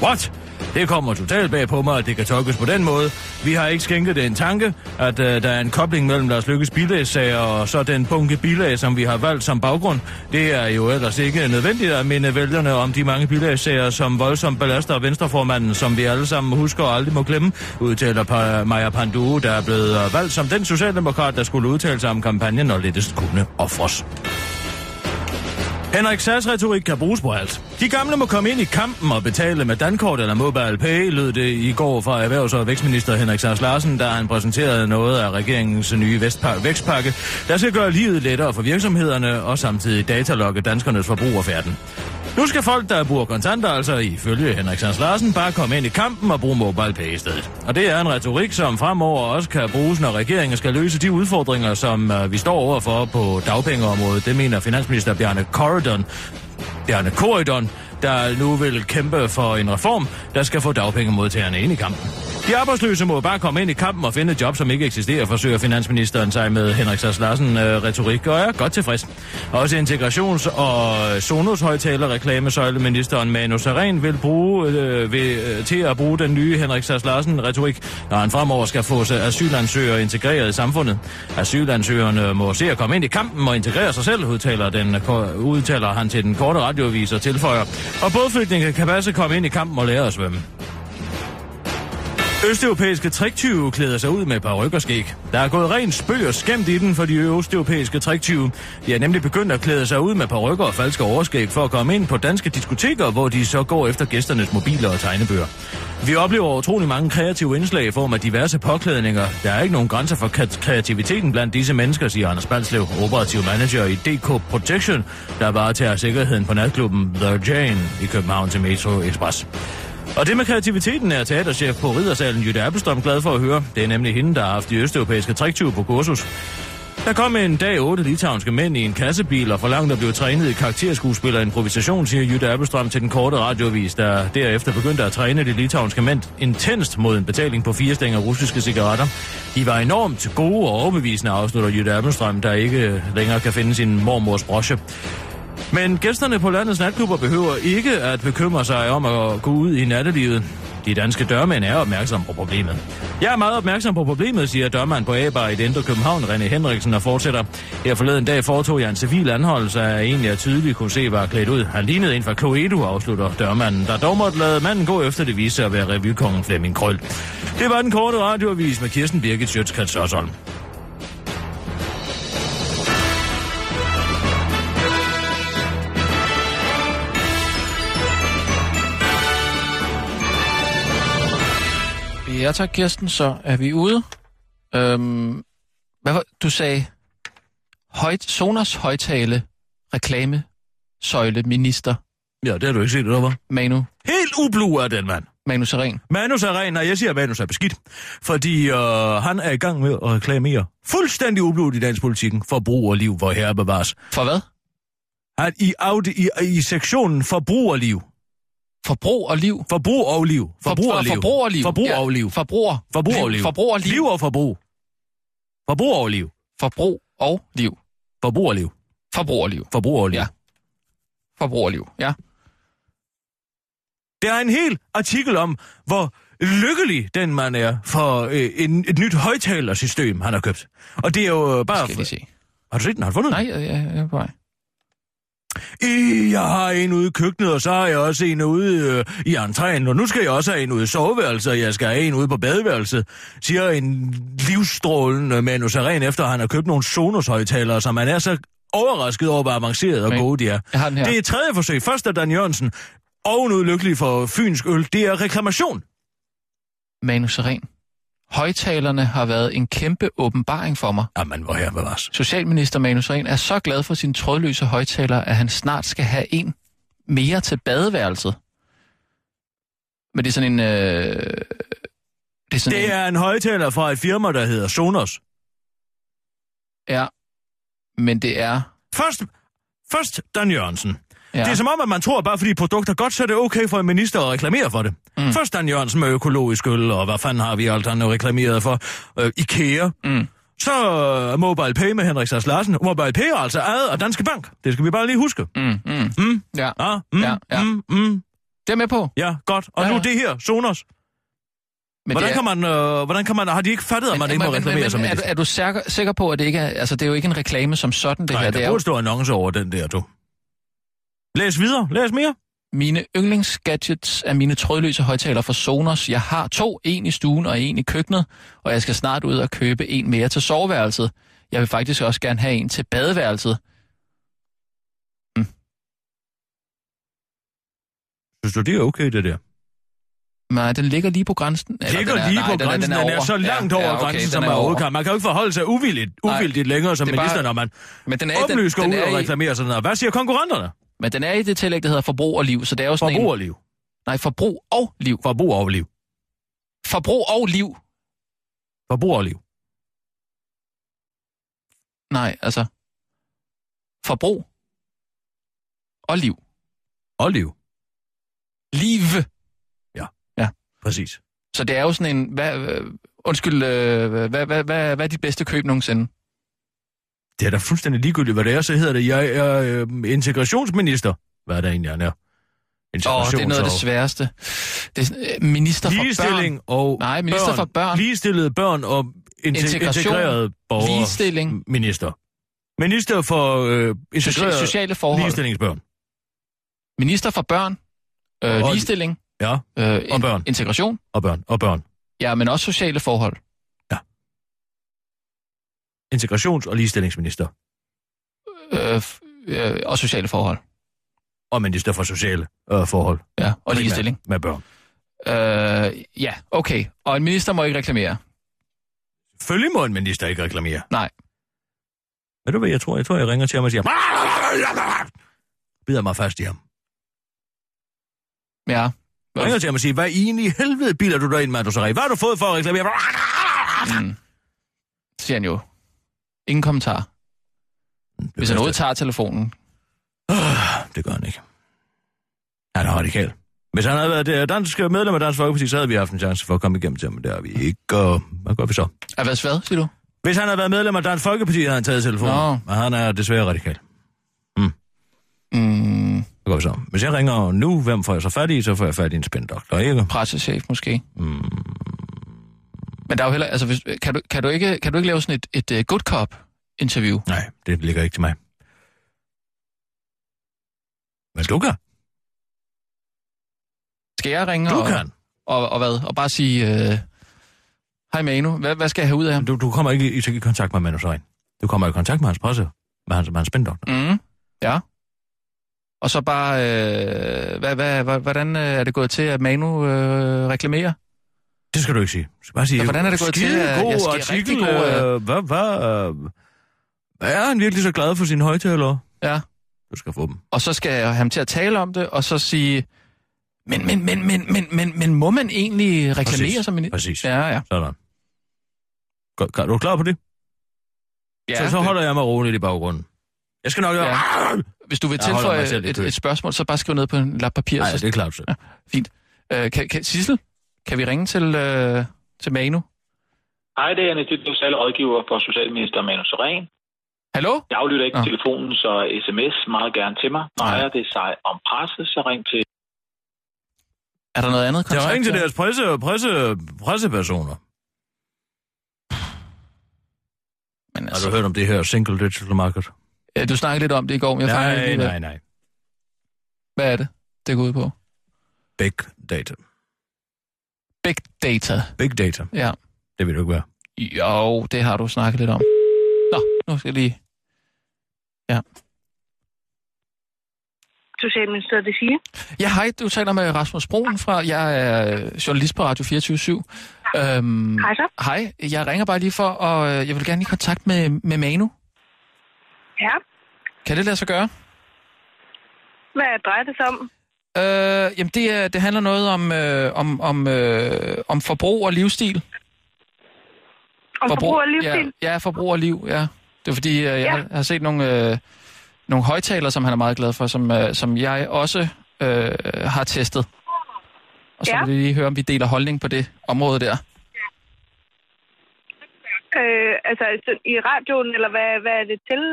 D: What? Det kommer totalt bag på mig, at det kan tolkes på den måde. Vi har ikke skænket det en tanke, at øh, der er en kobling mellem Lars Lykkes bilagssager og så den bunke bilag, som vi har valgt som baggrund. Det er jo ellers ikke nødvendigt at minde vælgerne om de mange bilagssager, som voldsomt belaster venstreformanden, som vi alle sammen husker og aldrig må glemme, udtaler pa- Maja Pandue, der er blevet øh, valgt som den socialdemokrat, der skulle udtale sig om kampagnen og lettest kunne ofres. Henrik Sass retorik kan bruges på alt. De gamle må komme ind i kampen og betale med dankort eller mobile pay, lød det i går fra erhvervs- og vækstminister Henrik Sass Larsen, da han præsenterede noget af regeringens nye Vestpa- vækstpakke, der skal gøre livet lettere for virksomhederne og samtidig datalokke danskernes forbrug og færden. Nu skal folk, der bruger kontanter, altså ifølge Henrik Sass Larsen, bare komme ind i kampen og bruge mobile pay i stedet. Og det er en retorik, som fremover også kan bruges, når regeringen skal løse de udfordringer, som øh, vi står overfor på dagpengeområdet. Det mener finansminister Bjarne Corridon, Bjarne Corridon, der nu vil kæmpe for en reform, der skal få dagpengemodtagerne ind i kampen. De arbejdsløse må bare komme ind i kampen og finde et job, som ikke eksisterer, forsøger finansministeren sig med Henrik Sass Larsen øh, retorik, og er godt tilfreds. Også integrations- og Sonos højtaler reklamesøjleministeren Manu Saren vil bruge øh, ved, øh, til at bruge den nye Henrik Sass Larsen retorik, når han fremover skal få sig asylansøgere integreret i samfundet. Asylansøgerne må se at komme ind i kampen og integrere sig selv, udtaler, den, udtaler han til den korte radioavis og tilføjer. Og bådflygtninge kan passe komme ind i kampen og lære at svømme. Østeuropæiske triktyve klæder sig ud med par og skæg. Der er gået ren spøg og skæmt i den for de østeuropæiske triktyve. De er nemlig begyndt at klæde sig ud med par og falske overskæg for at komme ind på danske diskoteker, hvor de så går efter gæsternes mobiler og tegnebøger. Vi oplever utrolig mange kreative indslag i form af diverse påklædninger. Der er ikke nogen grænser for kat- kreativiteten blandt disse mennesker, siger Anders Balslev, operativ manager i DK Protection, der varetager sikkerheden på natklubben The Jane i København til Metro Express. Og det med kreativiteten er teaterchef på Riddersalen Jytte Appelstrøm glad for at høre. Det er nemlig hende, der har haft de østeuropæiske triktyve på kursus. Der kom en dag otte litauiske mænd i en kassebil og forlangte at blive trænet i karakterskuespil og improvisation, siger Jytte Appelstrøm til den korte radiovis, der derefter begyndte at træne de litauiske mænd intenst mod en betaling på fire stænger russiske cigaretter. De var enormt gode og overbevisende, afslutter Jytte Appelstrøm, der ikke længere kan finde sin mormors brosje. Men gæsterne på landets natklubber behøver ikke at bekymre sig om at gå ud i nattelivet. De danske dørmænd er opmærksomme på problemet. Jeg er meget opmærksom på problemet, siger dørmand på A-bar i det indre København, René Henriksen, og fortsætter. Her forleden dag foretog jeg en civil anholdelse af en, jeg tydeligt kunne se var klædt ud. Han lignede en fra Cluedo, afslutter dørmanden, der dog måtte lade manden gå efter det viste sig at være revykongen Flemming Krøl. Det var den korte radioavis med Kirsten Birgit Sjøtskrets Hørsholm.
E: Ja tak, Kirsten, så er vi ude. Øhm, hvad var, du sagde højt, Sonos højtale, reklame, søjle, minister,
D: Ja, det har du ikke set, eller hvad?
E: Manu,
D: Helt ublu er den mand.
E: Manu Seren.
D: Manus er ren, og jeg siger, at Manus er beskidt. Fordi øh, han er i gang med at reklamere fuldstændig ublodigt i dansk politikken for brug og liv, hvor herre bevares.
E: For hvad?
D: Han i, audi, i, i sektionen forbrug og liv.
E: Forbrug og liv.
D: Forbrug og liv. Forbrug og liv.
E: Forbrug og liv.
D: Forbrug og liv.
E: Forbruger.
D: Forbrug og liv.
E: Forbrug og liv.
D: Liv og forbrug. Forbrug og liv.
E: Forbrug og liv.
D: Forbrug og liv.
E: Forbrug og liv.
D: Forbrug og liv.
E: Ja. Forbrug og liv. Ja.
D: Der er en hel artikel om, hvor lykkelig den mand er for øh, en, et nyt højtalersystem, han har købt. Og det er jo øh, bare...
E: Skal jeg lige se.
D: Har du set den? Har du fundet den?
E: Nej, jeg, jeg, jeg er på vej.
D: I, jeg har en ude i køkkenet, og så har jeg også en ude øh, i entréen, og nu skal jeg også have en ude i soveværelset, og jeg skal have en ude på badeværelset, siger en livsstrålende Manu Saren, efter han har købt nogle Sonos-højtalere, som han er så overrasket over, hvor avanceret og
E: Men-
D: gode de er.
E: Jeg har den her.
D: Det er tredje forsøg. Først er Dan Jørgensen ovenudykkelig for fynsk øl. Det er reklamation.
E: Manu Seren. Højtalerne har været en kæmpe åbenbaring for mig.
D: Jamen, hvor her bevares.
E: Socialminister Manu Seren er så glad for sine trådløse højtalere, at han snart skal have en mere til badeværelset. Men det er sådan en... Øh, det er sådan
D: Det
E: en,
D: er en højtaler fra et firma, der hedder Sonos.
E: Ja, men det er...
D: Først, først Dan Jørgensen.
E: Ja.
D: Ja. Det er som om, at man tror, at bare fordi produkter er godt, så er det okay for en minister at reklamere for det. Mm. Først Dan Jørgensen med økologisk øl, og hvad fanden har vi alt andet reklameret for? Øh, Ikea. Mm. Så øh, Mobile Pay med Henrik Sass Larsen. Mobile Pay er altså ejet af Danske Bank. Det skal vi bare lige huske. Mm.
E: Mm, mm.
D: Mm.
E: Ja,
D: Ah, mm,
E: Ja,
D: ja,
E: ja.
D: ja. Mm, mm,
E: det er jeg med på.
D: ja, godt. Og
E: Ja,
D: ja. nu
E: ja.
D: det her, Sonos.
E: Men
D: Hvordan,
E: det er,
D: kan man, øh, hvordan kan man... Har de ikke fattet, at man ikke må reklamere som
E: men, er, du-
D: minister?
E: er du sikker, sikker på, at det ikke er... Altså, det er jo ikke en reklame som sådan, det
D: Nej,
E: her.
D: der
E: Det er
D: burde
E: jo
D: stå annonce over den der, du. Læs videre. Læs mere.
E: mine yndlingsgadgets er mine trådløse højtalere fra Sonos. Jeg har to, en i stuen og en i køkkenet, og jeg skal snart ud og købe en mere til soveværelset. Jeg vil faktisk også gerne have en til badeværelset.
D: Synes du, det er okay, det der?
E: Nej, den ligger lige på grænsen. Eller,
D: Ligger lige
E: nej,
D: på grænsen. Den er,
E: over.
D: så langt over
E: okay,
D: grænsen,
E: den
D: som er
E: over.
D: overkommet. Man kan jo ikke forholde sig uvildigt,
E: Nej,
D: uvildigt længere som
E: det er bare-
D: minister, når man
E: Men den er, i
D: oplyst går
E: den,
D: ud
E: den
D: og
E: er i,
D: reklamerer sådan noget. Hvad siger konkurrenterne?
E: men den er i det tillæg, der hedder forbrug og liv, så det er jo sådan en...
D: Forbrugerliv.
E: Nej, forbrug og liv.
D: Forbrugerliv.
E: Forbrug og liv.
D: Forbrugerliv.
E: Nej, altså... Forbrug og liv.
D: Og liv.
E: Liv.
D: Præcis.
E: Så det er jo sådan en... Hvad, øh, undskyld, øh, hvad, hvad, hvad, hvad er dit bedste køb nogensinde?
D: Det er da fuldstændig ligegyldigt, hvad det er. Så hedder det, jeg er øh, integrationsminister. Hvad er det egentlig, han er?
E: Åh, oh, det er noget af det
D: og-
E: sværeste. Det er, øh, minister for børn.
D: Ligestilling og
E: Nej, minister
D: børn.
E: for børn.
D: Ligestillede børn og inte-
E: Integration.
D: integrerede borgere.
E: Ligestilling.
D: Minister. Minister for øh, integrerede
E: Socia- sociale forhold.
D: ligestillingsbørn.
E: Minister for børn. Øh,
D: Og-
E: ligestilling.
D: Ja,
E: Øh, in-
D: børn.
E: Integration.
D: og børn. Og børn.
E: Ja, men også sociale forhold.
D: Integrations- og ligestillingsminister.
E: Øh, f- øh, og sociale forhold.
D: Og minister for sociale øh, forhold.
E: Ja, og
D: Primært
E: ligestilling.
D: Med børn.
E: Øh, ja, okay. Og en minister må ikke reklamere.
D: Selvfølgelig må en minister ikke reklamere.
E: Nej.
D: Ved du hvad, jeg tror, jeg, tror, jeg ringer til ham og siger... Bider mig fast i ham.
E: Ja.
D: Jeg ringer til ham og siger, hvad i en i helvede biler du dig ind med, du så Hvad har du fået for at reklamere?
E: Mm. Siger han jo. Ingen kommentar. Hvis han overhovedet tager telefonen.
D: Det gør han ikke. Han er radikal. Hvis han havde været det dansk medlem af Dansk Folkeparti, så havde vi haft en chance for at komme igennem til ham, men det har vi ikke. Og hvad gør vi så?
E: Er hvad svært, siger du?
D: Hvis han havde været medlem af Dansk Folkeparti, havde han taget telefonen.
E: Nå.
D: Men han er desværre radikal.
E: Mm,
D: Hvad gør vi så? Hvis jeg ringer nu, hvem får jeg så fat i? Så får jeg fat i en spændoktor, ikke?
E: pressechef måske. Mm. Men der er jo heller, altså, hvis, kan, du, kan, du ikke, kan du ikke lave sådan et, et uh, good cop interview?
D: Nej, det ligger ikke til mig. Men du kan.
E: Skal jeg ringe
D: Du
E: og,
D: kan.
E: og, og, hvad? Og bare sige, øh, hej Manu, hvad, hvad skal jeg have ud af ham?
D: Du, du kommer ikke i, i kontakt med Manu Sarin. Du kommer i kontakt med hans presse, med hans, med hans spændoktor.
E: Mm, ja. Og så bare, øh, hvad, hvad, hvad, hvordan øh, er det gået til, at Manu øh, reklamerer?
D: Det skal du ikke sige. Du skal bare sige,
E: Ja, hvordan er det gået til,
D: skide
E: at-
D: god
E: jeg skal
D: artikel,
E: rigtig god,
D: øh, hvad, hvad, øh, hvad er han virkelig så glad for sine højtalere?
E: Ja.
D: Du skal få dem.
E: og så skal jeg have ham til at tale om det, og så sige, men, men, men, men, men, men, men må man egentlig reklamere
D: Præcis.
E: som minister?
D: Præcis. Ja.
E: Ja, ja.
D: Sådan. Godt, klar- Er du klar på det?
E: ja
D: så, så holder jeg mig roligt i baggrunden. Jeg skal nok...
E: Ja.
D: Ja. Nej,
E: Hvis du vil
D: Jeg holder
E: tilføje
D: mig selv i
E: et,
D: kø.
E: et spørgsmål, så bare skriv ned på en lap papir. så,
D: det er klart. Ja.
E: Fint. Øh, kan, kan, Sissel, kan vi ringe til, øh, til Manu?
K: Hej, det er Anne Dybdøv, særlig rådgiver for Socialminister Manu Soren.
E: Hallo?
K: Jeg aflytter ikke
E: Nå.
K: ja. telefonen, så sms meget gerne til mig. Når
E: Nej.
K: ejer det sig om presse, så ring til...
E: Er der noget andet?
D: Jeg
E: kontakt
D: ringer til
E: her?
D: deres presse, presse, pressepersoner.
E: Men
D: Har du
E: altså,
D: hørt om det her single digital market?
E: øh, du snakkede lidt om det i går, men jeg fangede det
D: Nej,
E: alligevel.
D: nej, nej.
E: Hvad er det, det går ud på?
D: Big data.
E: Big data.
D: Big data.
E: Ja.
D: Det vil du ikke være.
E: Jo, det har du snakket lidt om. Nå, nu skal jeg lige...
L: Socialministeriet, det siger.
B: Mm.
E: Ja, hej, du taler med Rasmus Broen fra... Jeg er øh, journalist på Radio 24-7. Øhm,
L: Hej så.
E: hej, jeg ringer bare lige for, og øh, jeg vil gerne i kontakt med, med Manu.
L: Ja.
E: Kan det lade sig gøre?
L: Hvad drejer det sig om?
E: Øh, jamen, det, er- det handler noget om, øh, om, om, øh, om forbrug og livsstil.
L: Om forbrug og livsstil?
E: Ja, ja, forbrug og liv, ja. Det er fordi, øh, jeg ja.
L: Ja.
E: har, har set nogle, øh, nogle højtaler, som han er meget glad for, som, øh, som jeg også øh, har testet. Og så
J: Ja.
E: ja. vil vi lige høre, om vi deler holdning på det område der.
J: Øh, altså så- i radioen, eller hvad, hvad er det til?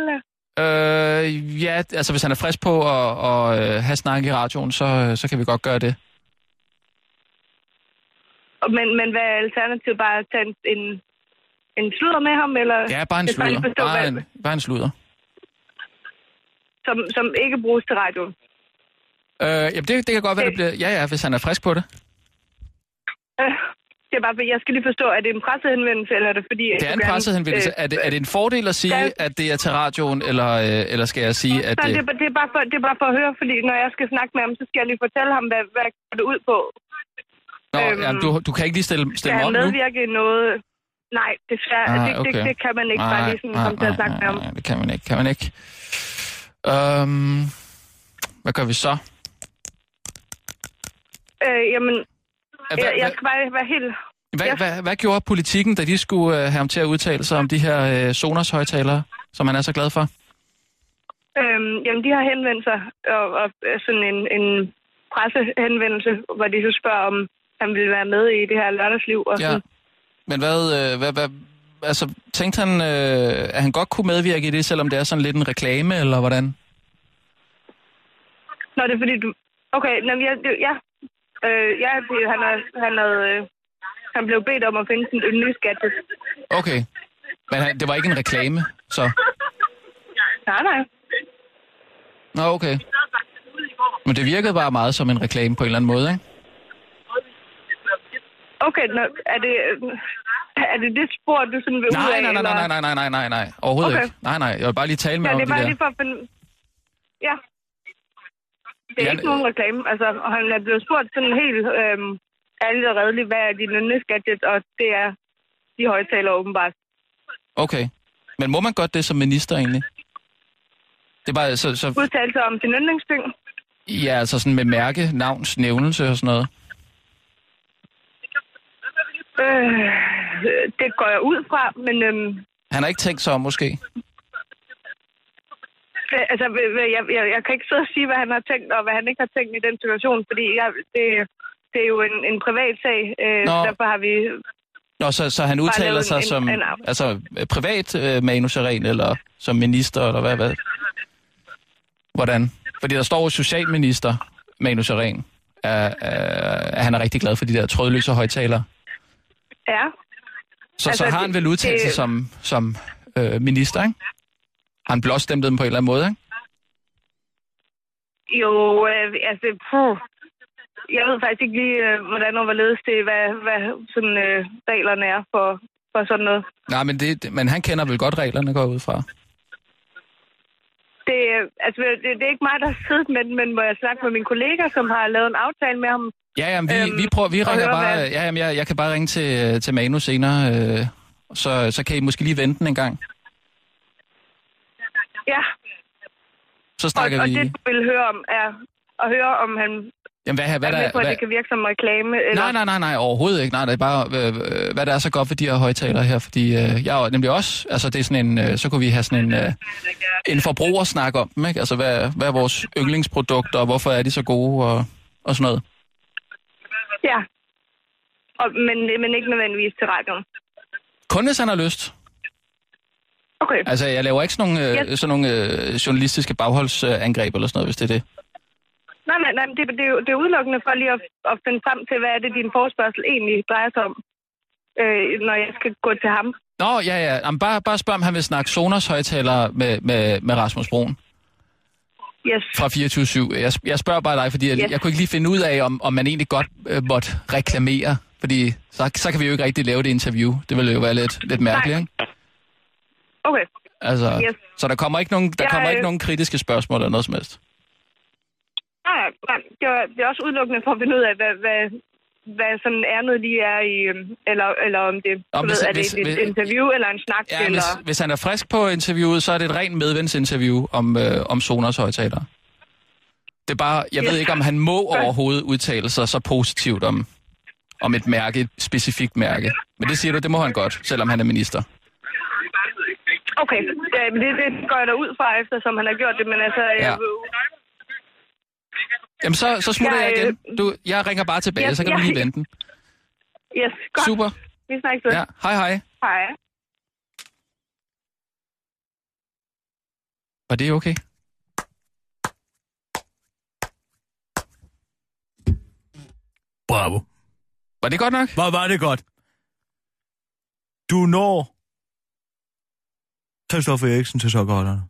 E: Øh, ja, altså hvis han er frisk på at, at, at have snak i radioen, så, så kan vi godt gøre det.
J: Og- Men, men hvad er alternativet? Bare at tage en, en, en sludder med ham? Eller?
E: Ja, bare en
J: Jeg skal lige
E: sluder.
J: forstå,
E: Bare
J: hvad-
E: en, bare en sluder.
J: som, som ikke bruges til radioen.
E: Øh, jamen det, det kan godt være, det bliver... Ja, ja, hvis han er frisk på det.
J: Øh, det er bare, for- jeg skal lige forstå, er det en pressehenvendelse, eller er det fordi... at
E: Det er
J: du
E: en
J: gerne-
E: pressehenvendelse.
J: øh,
E: Er det, er det en fordel at sige, at det er til radioen, eller, øh, eller skal jeg sige, at
J: Nej, det,
E: det...
J: er bare- det, er bare for, det er bare for at høre, fordi når jeg skal snakke med ham, så skal jeg lige fortælle ham, hvad, hvad går det ud på.
E: Nå,
J: øhm,
E: jamen, du, du kan ikke lige stille,
J: Skal
E: stille mig
J: han
E: op nu?
J: medvirke i noget? Nej, desværre.
E: Ah,
J: Ah, det, det,
E: okay.
J: det, kan man ikke bare
E: Nej,
J: lige sådan
E: nej,
J: komme til at
E: nej,
J: snakke med ham.
E: Det kan man ikke, kan man ikke. Øhm, hvad gør vi så?
J: Øh, jamen,
E: Hvad-
J: jeg, jeg
E: hvad-
J: skal bare være helt...
E: Hvad, ja. hvad, hvad gjorde politikken, da de skulle øh, have ham til at udtale sig om de her øh, Sonos højtalere, som han er så glad for?
J: Øhm, jamen, de har henvendt sig, og, og øh, sådan en, en pressehenvendelse, hvor de så spørger, om han ville være med i det her lørdagsliv. Og
E: Ja.
J: ja. sådan.
E: Men hvad, øh, hvad, hvad altså, tænkte han, øh, at han godt kunne medvirke i det, selvom det er sådan lidt en reklame, eller hvordan?
J: Nå, det er fordi du... Okay, jamen, jeg, det, ja. Øh, ja, det- han, havde, han, havde, øh, han blev bedt om at finde sin yndlingsgadget.
E: Okay. Men han, det var ikke en reklame, så...
J: Nej, nej.
E: Nå, okay. Men det virkede bare meget som en reklame på en eller anden måde, ikke?
J: Okay, nå, er det... Er det det spor, du sådan vil ud
E: Nej,
J: af?
E: nej, nej, nej, nej, nej, nej, nej, nej. Overhovedet
J: Okay.
E: ikke. Nej, nej, jeg vil bare lige tale med
J: Ja,
E: om
J: det
E: det
J: er bare
E: der.
J: lige for at finde... Ja. Det er
E: Ja, øh.
J: ikke nogen reklame. Altså, og han er blevet spurgt sådan helt øhm, ærligt og redeligt, hvad er din yndlingsgadget, og det er de højtaler åbenbart.
E: Okay. Men må man godt det som minister egentlig? Det er bare så, så
J: Udtalelse om sin yndlingsting.
E: ja, altså sådan med mærke, navns, nævnelse og sådan noget.
J: Øh, det går jeg ud fra, men øhm,
E: Han har ikke tænkt sig om måske.
J: øh, altså, øh, øh, jeg, jeg, jeg kan ikke sidde og sige, hvad han har tænkt, og hvad han ikke har tænkt i den situation, fordi jeg, det, det er jo en, en privat sag. Øh,
E: Nå.
J: derfor har vi...
E: Nå, så, så han
J: Bare
E: udtaler
J: lavet
E: sig
J: en-
E: som
J: en af-
E: altså, øh, privat øh, manuseren, eller som minister, eller hvad? hvad? Hvordan? Fordi der står jo socialminister Manus Aren, at, at han er rigtig glad for de der trådløse højtalere.
J: Ja.
E: Så, altså,
J: Altså,
E: så har han
J: det-
E: vel udtalt sig
J: det-
E: som, som øh, minister, ikke? Har han blåstemt dem på en eller anden måde, ikke?
J: Jo, øh, altså, puh. jeg ved faktisk ikke lige, øh, hvordan og hvorledes det er, hvad, hvad sådan, øh, reglerne er for, for sådan noget.
E: Nej, men, det, det- men han kender vel godt reglerne, går jeg ud fra.
J: Det, øh, altså, det, det er ikke mig, der har siddet med den, men må jeg snakke med min kollega, som har lavet en aftale med ham.
E: Ja, jamen, vi, øhm, vi, prøver, vi
J: og
E: ringer
J: høre,
E: bare...
J: hvad-
E: Ja, jamen, jeg, jeg kan bare ringe til, øh, til Manu senere, øh, så, så kan I måske lige vente den en gang.
J: Ja,
E: Så
J: og,
E: snakker
J: og
E: vi...
J: det, du vil høre om, er at høre, om han
E: Jamen, hvad, hvad
J: er
E: der,
J: med på, at
E: hvad,
J: det kan virke som reklame. Eller...
E: nej, nej, nej, nej, overhovedet ikke. Nej, det er bare, øh, hvad der er så godt ved de her højtalere her, fordi øh, jeg er jo nemlig også, altså det er sådan en, øh, så kunne vi have sådan en, øh, en forbrugersnak om dem, ikke? Altså, hvad, hvad er vores yndlingsprodukter, og hvorfor er de så gode, og, og sådan noget.
J: Ja, og, men, men ikke nødvendigvis til radioen.
E: Kun hvis han har lyst.
J: Okay.
E: Altså, jeg laver ikke sådan nogle, øh,
J: Yes.
E: sådan nogle øh, journalistiske bagholdsangreb eller sådan noget, hvis det er det.
J: Nej, nej, nej, men det, det, er jo- det er udelukkende for lige at, at finde frem til, hvad er det, din forspørgsel egentlig drejer sig om, øh, når jeg skal gå til ham.
E: Nå, ja, ja. Jamen, bare, bare spørg, om han vil snakke Sonos højtalere med, med, med Rasmus Broen.
J: Yes.
E: Fra 24-7. Jeg, jeg spørger bare dig, fordi jeg,
J: Yes.
E: yes. jeg kunne ikke lige finde ud af, om, om man egentlig godt øh, måtte reklamere. Fordi så, så kan vi jo ikke rigtig lave det interview. Det ville jo være lidt, lidt mærkeligt, ikke?
J: Okay.
E: Altså,
J: Yes.
E: yes. Så der kommer ikke nogen, der
J: Jeg,
E: kommer
J: øh,
E: ikke nogen kritiske spørgsmål eller noget som helst.
J: Nej, nej, nej, det, var, det er også udelukkende for at finde ud af, hvad, hvad, hvad sådan ærnet lige er i, øhm, eller, eller om det, du
E: hvis-
J: ved, er det
E: hvis-
J: et, et
E: hvis-
J: interview eller en snak,
E: Ja,
J: eller...
E: hvis, hvis han er frisk på interviewet, så er det et rent medvindsinterview om, øh, om Sonos højtalere. Det er bare, jeg ved
J: Ja.
E: ikke, om han må overhovedet udtale sig så positivt om, om et mærke, et specifikt mærke. Men det siger du, det må han godt, selvom han er minister.
M: Okay, ja, men det, det går jeg da ud fra, eftersom han har gjort det, men altså...
J: øh,
E: Ja.
M: Ja.
E: Jamen, så, så smutter jeg,
M: Jeg, øh,
E: igen. Du, jeg ringer bare tilbage,
M: Ja,
E: så kan du
M: ja.
E: lige vente. den.
M: Yes, godt.
E: Super.
M: Vi snakkes ved.
E: Ja, hej hej.
M: Hej.
E: Var det okay?
D: Bravo.
E: Var det godt nok?
D: Var, var det godt. Du når Christoffer Eriksen til sokkerholderne.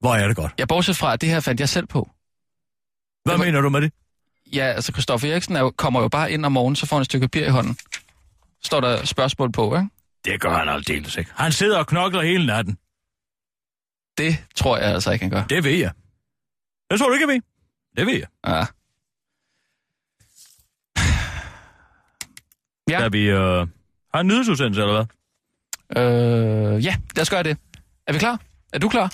D: Hvor er det godt.
E: Ja, bortset fra, at det her fandt jeg selv på.
D: Hvad
E: var-
D: mener du med det?
E: Ja, altså Kristoffer Eriksen er jo, kommer jo bare ind om morgenen, så får han et stykke papir i hånden. Står der spørgsmål på, ikke?
D: Det gør han aldeles ikke. Han sidder og knokler hele natten.
E: Det tror jeg altså ikke, han gør.
D: Det ved jeg. Det tror du ikke, jeg ved. Det ved jeg.
E: Ja. Ja.
D: Da vi øh, har en nyhedsudsendelse, eller hvad?
E: Øh, ja, lad os gøre det. Er vi klar? Er du klar?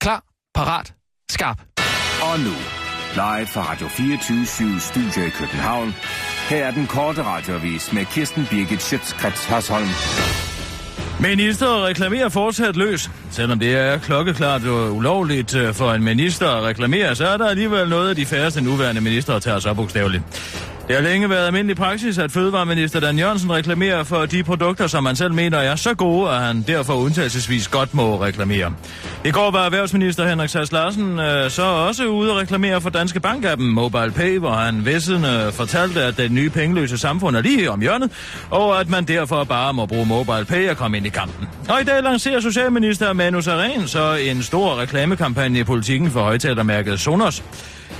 E: Klar, parat, skarp.
F: Og nu, live fra Radio 24 Studio i København. Her er den korte radiovis med Kirsten Birgit Schøtzgrads Hasholm.
D: Minister reklamerer fortsat løs. Selvom det er klokkeklart og ulovligt øh, for en minister at reklamere, så er der alligevel noget af de færreste nuværende ministerer tager så bogstaveligt. Det har længe været almindelig praksis, at fødevareminister Dan Jørgensen reklamerer for de produkter, som han selv mener er så gode, at han derfor undtagelsesvis godt må reklamere. I går var erhvervsminister Henrik Sass Larsen øh, så også ude og reklamere for Danske Bank-appen Mobile Pay, hvor han vissende fortalte, at den nye pengeløse samfund er lige om hjørnet, og at man derfor bare må bruge Mobile Pay og komme ind i kampen. Og i dag lancerer Socialminister Manu Sareen så en stor reklamekampagne i politikken for højtalermærket Sonos.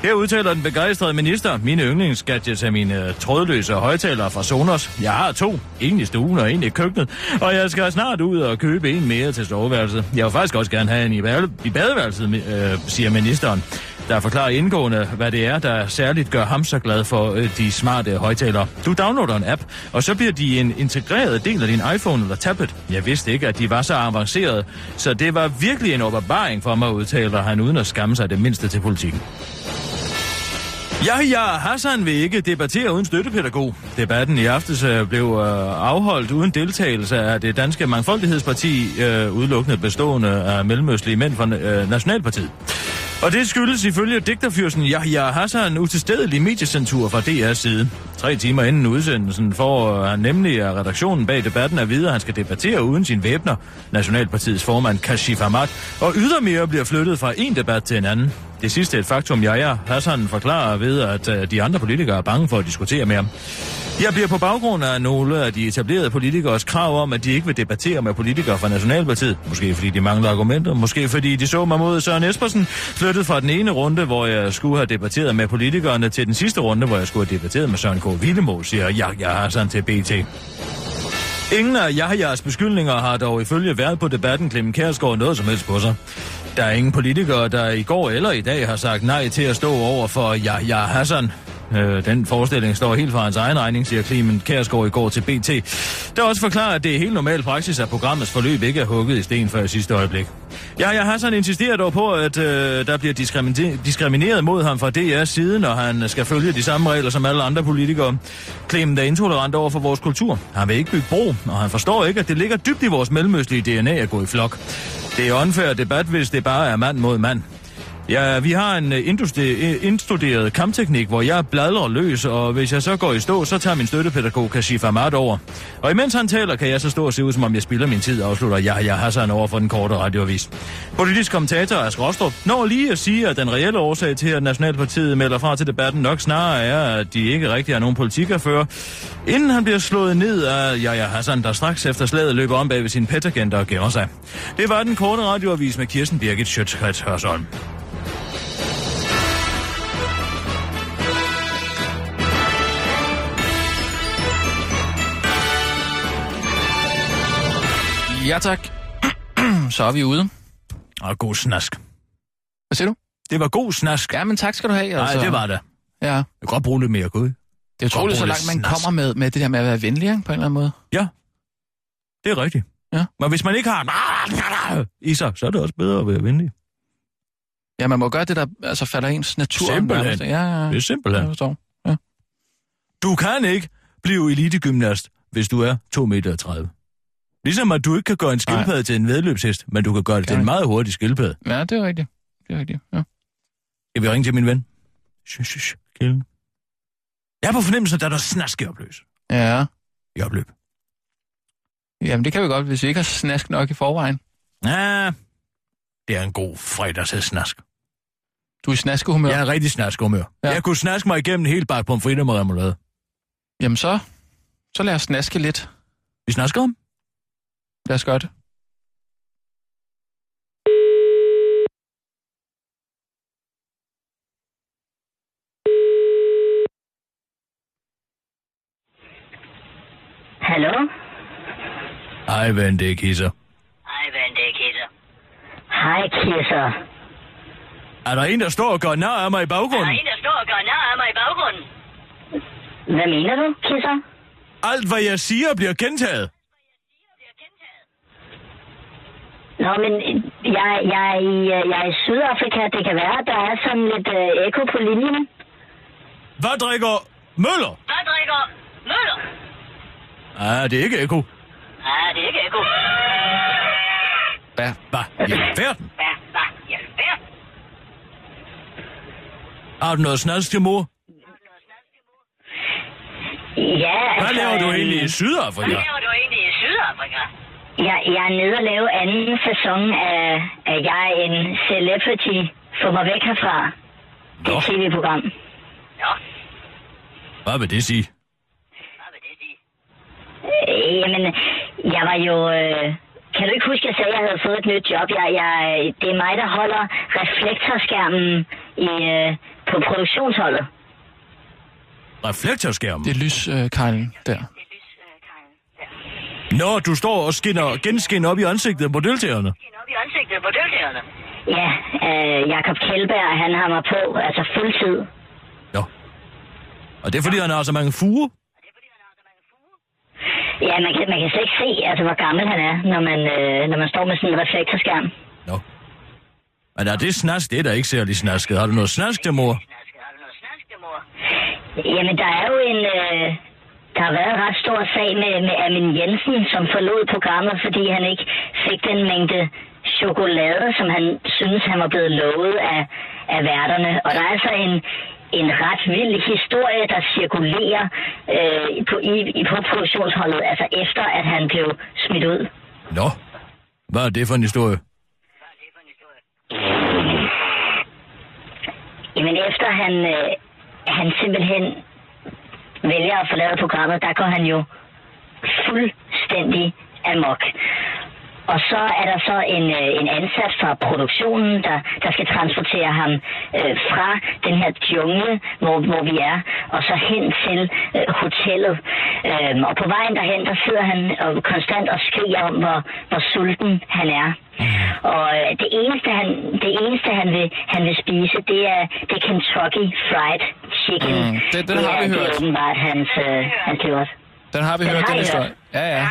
D: Her udtaler den begejstrede minister, mine yndlingsgadgets er mine trådløse højtalere fra Sonos. Jeg har to, en i stuen og en i køkkenet, og jeg skal snart ud og købe en mere til soveværelset. Jeg vil faktisk også gerne have en i, bade- i badeværelset, øh, siger ministeren, der forklarer indgående, hvad det er, der særligt gør ham så glad for øh, de smarte højtalere. Du downloader en app, og så bliver de en integreret del af din iPhone eller tablet. Jeg vidste ikke, at de var så avancerede, så det var virkelig en åbenbaring for mig, udtaler han uden at skamme sig det mindste til politikken. Ja, ja, Hassan vil ikke debattere uden støttepædagog. Debatten i aftes øh, blev øh, afholdt uden deltagelse af det danske mangfoldighedsparti, øh, udelukkende bestående af mellemøstlige mænd fra øh, Nationalpartiet. Og det skyldes ifølge digterfyrsten Yahya Hassan utilstedelig mediecensur fra DR's side. Tre timer inden udsendelsen får øh, han nemlig af redaktionen bag debatten at vide, at han skal debattere uden sin væbner, Nationalpartiets formand Kashif Ahmad, og ydermere bliver flyttet fra en debat til en anden. Det sidste er et faktum, Yahya Hassan forklarer ved, at øh, de andre politikere er bange for at diskutere med ham. Jeg bliver på baggrund af nogle af de etablerede politikers krav om, at de ikke vil debattere med politikere fra Nationalpartiet. Måske fordi de mangler argumenter, måske fordi de så mig mod Søren Espersen, flyttet fra den ene runde, hvor jeg skulle have debatteret med politikerne, til den sidste runde, hvor jeg skulle have debatteret med Søren K. Villemo, siger Yahya Hassan til BT. Ingen af Yahya's beskyldninger har dog ifølge været på debatten Clemen Kærsgaard noget som helst på sig. Der er ingen politikere, der i går eller i dag har sagt nej til at stå over for Yahya Hassan. Øh, den forestilling står helt for hans egen regning, siger Clemen Kærsgaard i går til BT. Der er også forklaret, at det er helt normal praksis, at programmets forløb ikke er hugget i sten før i sidste øjeblik. Yahya Hassan insisterer dog på, at øh, der bliver diskriminé- diskrimineret mod ham fra DR's side, når han skal følge de samme regler som alle andre politikere. Clemen er intolerant over for vores kultur. Han vil ikke bygge bro, og han forstår ikke, at det ligger dybt i vores mellemøstlige DNA at gå i flok. Det er unfair debat, hvis det bare er mand mod mand. Ja, vi har en øh, industri- øh, indstuderet kampteknik, hvor jeg bladrer løs, og hvis jeg så går i stå, så tager min støttepædagog Kashif Ahmad over. Og imens han taler, kan jeg så stå og se ud, som om jeg spilder min tid, afslutter Yahya Hassan over for den korte radioavis. Politisk kommentator Ask Rostrup når lige at sige, at den reelle årsag til, at Nationalpartiet melder fra til debatten nok snarere er, at de ikke rigtig har nogen politik at føre, inden han bliver slået ned af Yahya Hassan, der straks efter slaget løber om bag ved sin petagenter og gemmer sig. Det var den korte radioavis med Kirsten Birgit Schøtzgrads Hørsholm.
E: Ja tak. <clears throat> så er vi ude.
D: Og god snask.
E: Hvad siger du?
D: Det var god snask.
E: Ja, men tak skal du have.
D: Nej, altså... det var det.
E: Ja.
D: Jeg kan godt bruge lidt mere gud.
E: Det er utroligt, så langt man kommer med, med det der med at være venlig, ikke, på en eller anden måde.
D: Det er rigtigt.
E: Ja.
D: Men hvis man ikke har en i sig, så er det også bedre at være venlig.
E: Ja, man må gøre det, der altså, falder ens natur. om
D: Simpelthen.
E: nærmest. Ja, ja, ja.
D: Det er
E: Jeg
D: simpelthen.
E: forstår.
D: Du kan ikke blive elitegymnast, hvis du er 2,30 meter. Ligesom at du ikke kan gøre en skildpadde til en vedløbshest, men du kan gøre det til en meget hurtig skildpadde.
E: Ja, det er rigtigt. Det er rigtigt, ja.
D: Jeg vil ringe til min ven. Shh, shh, shh, Kjellen. Jeg er på fornemmelsen, at der er noget snask i opløs.
E: Ja.
D: I opløb.
E: Jamen, det kan vi godt, hvis vi ikke har snask nok i forvejen.
D: Ja, det er en god fredagshedssnask.
E: Du er i snaskehumør.
D: Jeg er rigtig snaskehumør. Ja. Jeg kunne snaske mig igennem en hel bakke pomfritter med remoulade.
E: Jamen så, så lad os snaske lidt.
D: Vi snasker om.
E: Lad os gøre det.
J: Hallo?
D: Ej, vent, det er kisser.
J: Hej, vand, det er Kisser. Hej, Kisser.
D: Er der en, der står og gør nar af mig i
J: Der
D: baggrunden?
J: er en, der står og gør nar af mig i baggrunden. Hvad mener du, Kisser?
D: Alt, hvad jeg siger, bliver gentaget.
J: Nå, men øh, jeg, jeg, er i, øh, jeg er i Sydafrika. Det kan være, at der er sådan lidt øh, ekko på linjen.
D: Hvad drikker Møller?
J: Hvad drikker Møller?
D: Ah, det er ikke Eko.
J: Nej, det er ikke ekko.
E: Hvad?
D: Hvad? I
J: <laughs>
D: alverden?
J: Hvad? Hvad? Jeg spørger.
D: Har du noget snask til mor?
J: Ja,
D: Hvad laver du egentlig i
J: Hvad
D: Sydafrika?
J: laver du egentlig i Sydafrika? Jeg, jeg er nede og lave anden sæson af, at jeg er en celebrity. Få mig væk herfra. Det er et tv-program.
D: Hvad vil det sige?
J: Øh, jamen, jeg var jo... Øh, kan du ikke huske, jeg sagde, at jeg havde fået et nyt job? Jeg, jeg, det er mig, der holder reflektorskærmen i, øh, på produktionsholdet.
D: Reflektorskærm?
E: Det er lyskejlen der.
D: Nå, du står og skinner, genskinner op i ansigtet på deltagerne.
J: Op i ansigtet på deltagerne? Ja, øh, Jakob Kjellberg, han har mig på, altså fuldtid.
D: Og det er, fordi han har så mange fuger.
J: Ja, man kan, man kan slet ikke se, altså, hvor gammel han er, når man, øh, når man står med sådan en reflektorskærm.
D: Men er det snask? Det er da ikke særlig snasket. Har du noget snask til mor?
J: Jamen, der er jo en... Øh, der har været en ret stor sag med, med Amin Jensen, som forlod programmet, fordi han ikke fik den mængde chokolade, som han synes, han var blevet lovet af, af værterne. Og der er altså en, en ret vild historie, der cirkulerer øh, på, i, i, på produktionsholdet, altså efter, at han blev smidt ud.
D: Nå. Hvad er det for en historie?
J: Jamen efter han, øh, han simpelthen vælger at forlade programmet, der går han jo fuldstændig amok. Og så er der så en, øh, en ansat fra produktionen, der, der skal transportere ham øh, fra den her jungle, hvor, hvor vi er, og så hen til øh, hotellet. Øhm, og på vejen derhen, der sidder han og konstant og skriger om, hvor, hvor sulten han er. Og øh, det eneste, han, det eneste han, vil, han vil spise, det er, det er Kentucky Fried Chicken.
E: Mm, det- den har
J: er,
E: vi
J: Det
E: hørt.
J: er åbenbart hans, øh, hans livret.
E: Den har vi
J: Den
E: hørt,
J: har
E: den
J: I
E: historie.
J: hørt.
E: Ja, ja.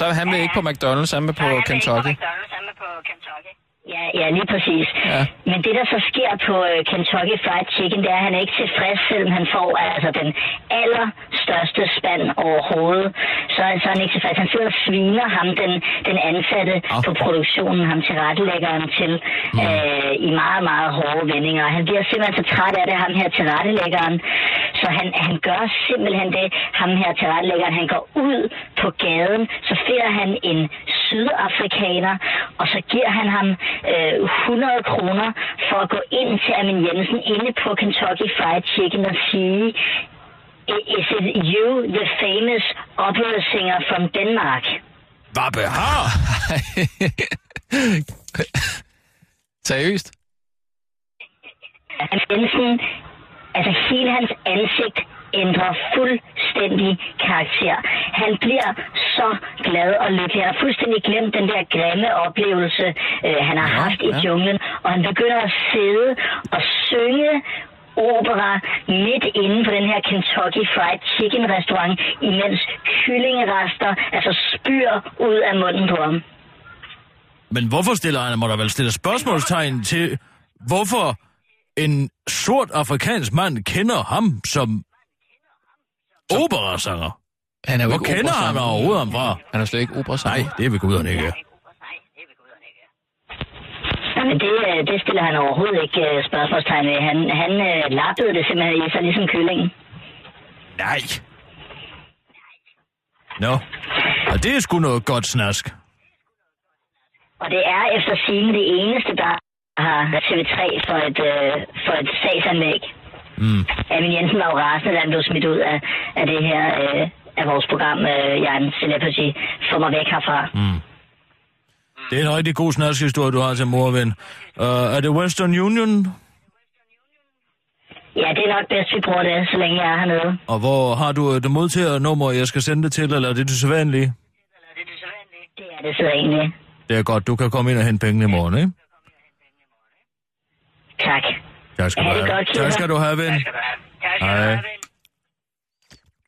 E: Så han vil ikke på McDonald's, han vil på Kentucky.
J: Ja, ja, lige præcis. Ja. Men det, der så sker på øh, Kentucky Fried Chicken, det er, at han er ikke tilfreds, selvom han får altså den allerstørste spand overhovedet. Så, så er han ikke tilfreds. Han sidder og sviner ham, den, den ansatte oh. på produktionen, ham tilrettelæggeren til, mm. øh, i meget, meget hårde vendinger. Han bliver simpelthen så træt af det, ham her tilrettelæggeren. Så han, han gør simpelthen det, ham her tilrettelæggeren, han går ud på gaden, så finder han en sydafrikaner, og så giver han ham øh, 100 kroner for at gå ind til Amin Jensen inde på Kentucky Fried Chicken og sige, "I- Is it you, the famous opera singer from Denmark?
D: Hvad behar?
E: <laughs> Seriøst?
J: Amin Jensen, altså hele hans ansigt ændrer fuldstændig karakter. Han bliver så glad og lykkelig. Han har fuldstændig glemt den der grimme oplevelse, øh, han har haft i junglen, og han begynder at sidde og synge opera midt inde på den her Kentucky Fried Chicken restaurant, imens kyllingerester altså spyr ud af munden på ham.
D: Men hvorfor stiller han, må der vel stille spørgsmålstegn til, hvorfor en sort afrikansk mand kender ham som operasanger?
E: Han er jo
D: Hvor
E: ikke
D: kender
E: operasanger.
D: han overhovedet ham fra?
E: Han er slet ikke operasanger.
D: Nej, det vil guderne ikke.
J: Nej, men det, øh, det stiller han overhovedet ikke øh, spørgsmålstegn ved. Han, han øh, lappede det simpelthen i sig, ligesom kyllingen.
D: Nej. Nå, og det er sgu noget godt snask.
J: Og det er efter sigende det eneste, der har TV3 for et, øh, for et sagsanlæg.
D: Mm.
J: Amin Jensen var jo rasende, da han blev smidt ud af, af det her, øh, af vores program, øh, Jeg er en celebrity, få mig væk herfra.
D: Mm. Det er en rigtig god snaskhistorie, du har til morven. Uh, er det Western Union?
J: Ja, det er nok bedst, vi bruger det, så længe jeg er hernede.
D: Og hvor har du et modtagernummer, jeg skal sende det til, eller er det det sædvanlige?
J: Ja, det sidder egentlig.
D: Det er godt, du kan komme ind og hente pengene i morgen, ikke?
J: Tak.
D: Tak skal du
J: Ha' det
D: have.
J: godt, Kira.
D: Tak skal du have, ven. Hej.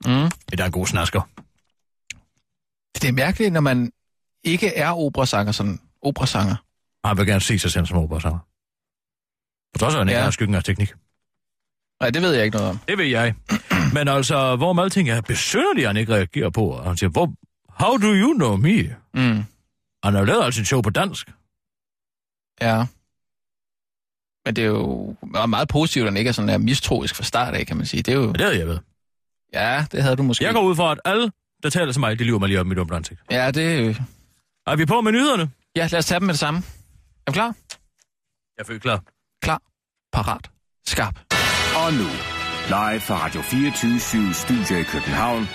E: Mm.
D: Det er en god snasker.
E: Det er mærkeligt, når man ikke er operasanger, sådan operasanger.
D: Han vil gerne se sig selv som operasanger. På trods af, at han ikke
E: Ja.
D: har skyggen af teknik.
E: Nej, det ved jeg ikke noget om.
D: Det ved jeg. <clears throat> Men altså, hvor med alting er besynderligt, han ikke reagerer på. Og han siger, hvor, how do you know me?
E: Mm.
D: Han har lavet altså en show på dansk.
E: Ja. Men det er jo meget positivt, at den ikke er sådan der mistroisk fra start af, kan man sige. Det er jo...
D: Det havde jeg ved.
E: Ja, det havde du måske.
D: Jeg går ud fra, at alle, der taler til mig, de lyver mig lige op i mit dumme ansigt.
E: Ja, det...
D: Er vi på med nyhederne?
E: Ja, lad os tage dem med det samme. Er du klar?
D: Jeg føler klar.
E: Klar. Parat. Skarp.
F: Og nu, live fra Radio 24 Studio i København.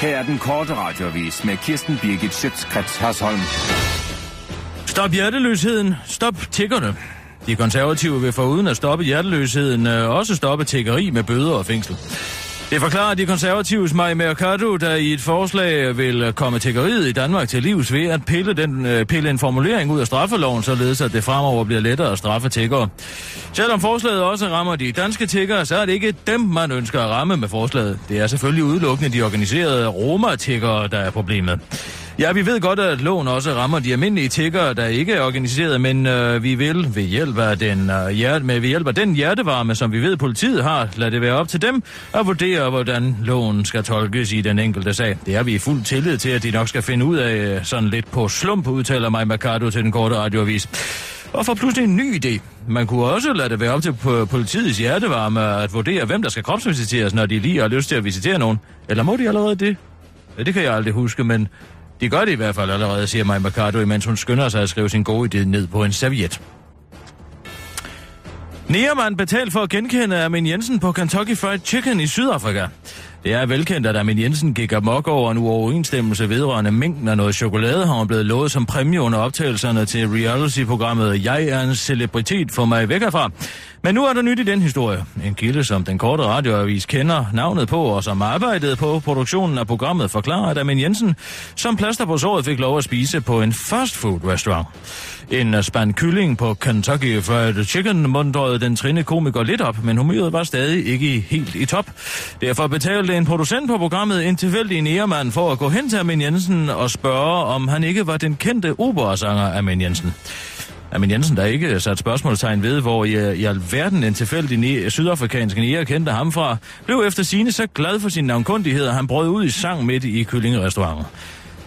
F: Her er den korte radiovis med Kirsten Birgit Schøtzgrads Hasholm.
D: Stop hjerteløsheden. Stop tiggerne. De konservative vil foruden at stoppe hjerteløsheden øh, også stoppe tiggeri med bøder og fængsel. Det forklarer de konservatives Maja Mercado, der i et forslag vil komme tiggeriet i Danmark til livs ved at pille, den, øh, pille en formulering ud af straffeloven, således at det fremover bliver lettere at straffe tiggere. Selvom forslaget også rammer de danske tiggere, så er det ikke dem, man ønsker at ramme med forslaget. Det er selvfølgelig udelukkende de organiserede roma-tiggere, der er problemet. Ja, vi ved godt, at loven også rammer de almindelige tiggere, der ikke er organiseret, men øh, vi vil ved hjælp af den, øh, hjerte, med, ved hjælp af den hjertevarme, som vi ved, politiet har, lad det være op til dem at vurdere, hvordan loven skal tolkes i den enkelte sag. Det er vi i fuld tillid til, at de nok skal finde ud af øh, sådan lidt på slump, udtaler mig Mercado til den korte radioavis. Og for pludselig en ny idé. Man kunne også lade det være op til po- politiets hjertevarme at vurdere, hvem der skal kropsvisiteres, når de lige har lyst til at visitere nogen. Eller må de allerede det? Ja, det kan jeg aldrig huske, men de gør det i hvert fald allerede, siger Maja Mercado, imens hun skynder sig at skrive sin gode idé ned på en serviet. Niermann betalt for at genkende Armin Jensen på Kentucky Fried Chicken i Sydafrika. Det er velkendt, at Armin Jensen gik amok over en uoverensstemmelse vedrørende mængden af noget chokolade, har hun blevet lovet som præmie under optagelserne til reality-programmet Jeg er en celebritet for mig væk herfra. Men nu er der nyt i den historie. En kilde, som den korte radioavis kender navnet på, og som arbejdede på produktionen af programmet, forklarer, at Armin Jensen som plaster på såret fik lov at spise på en fastfood-restaurant. En øh, spand kylling på Kentucky Fried Chicken mundrede den trine komiker lidt op, men humøret var stadig ikke helt i top. Derfor betalte en producent på programmet en tilfældig nærmand for at gå hen til Armin Jensen og spørge, om han ikke var den kendte operasanger Armin Jensen. Armin Jensen, der ikke sat spørgsmålstegn ved, hvor i, i alverden en tilfældig ne- sydafrikansk nære kendte ham fra, blev efter sine så glad for sin navnkundighed, at han brød ud i sang midt i kyllingerestauranten.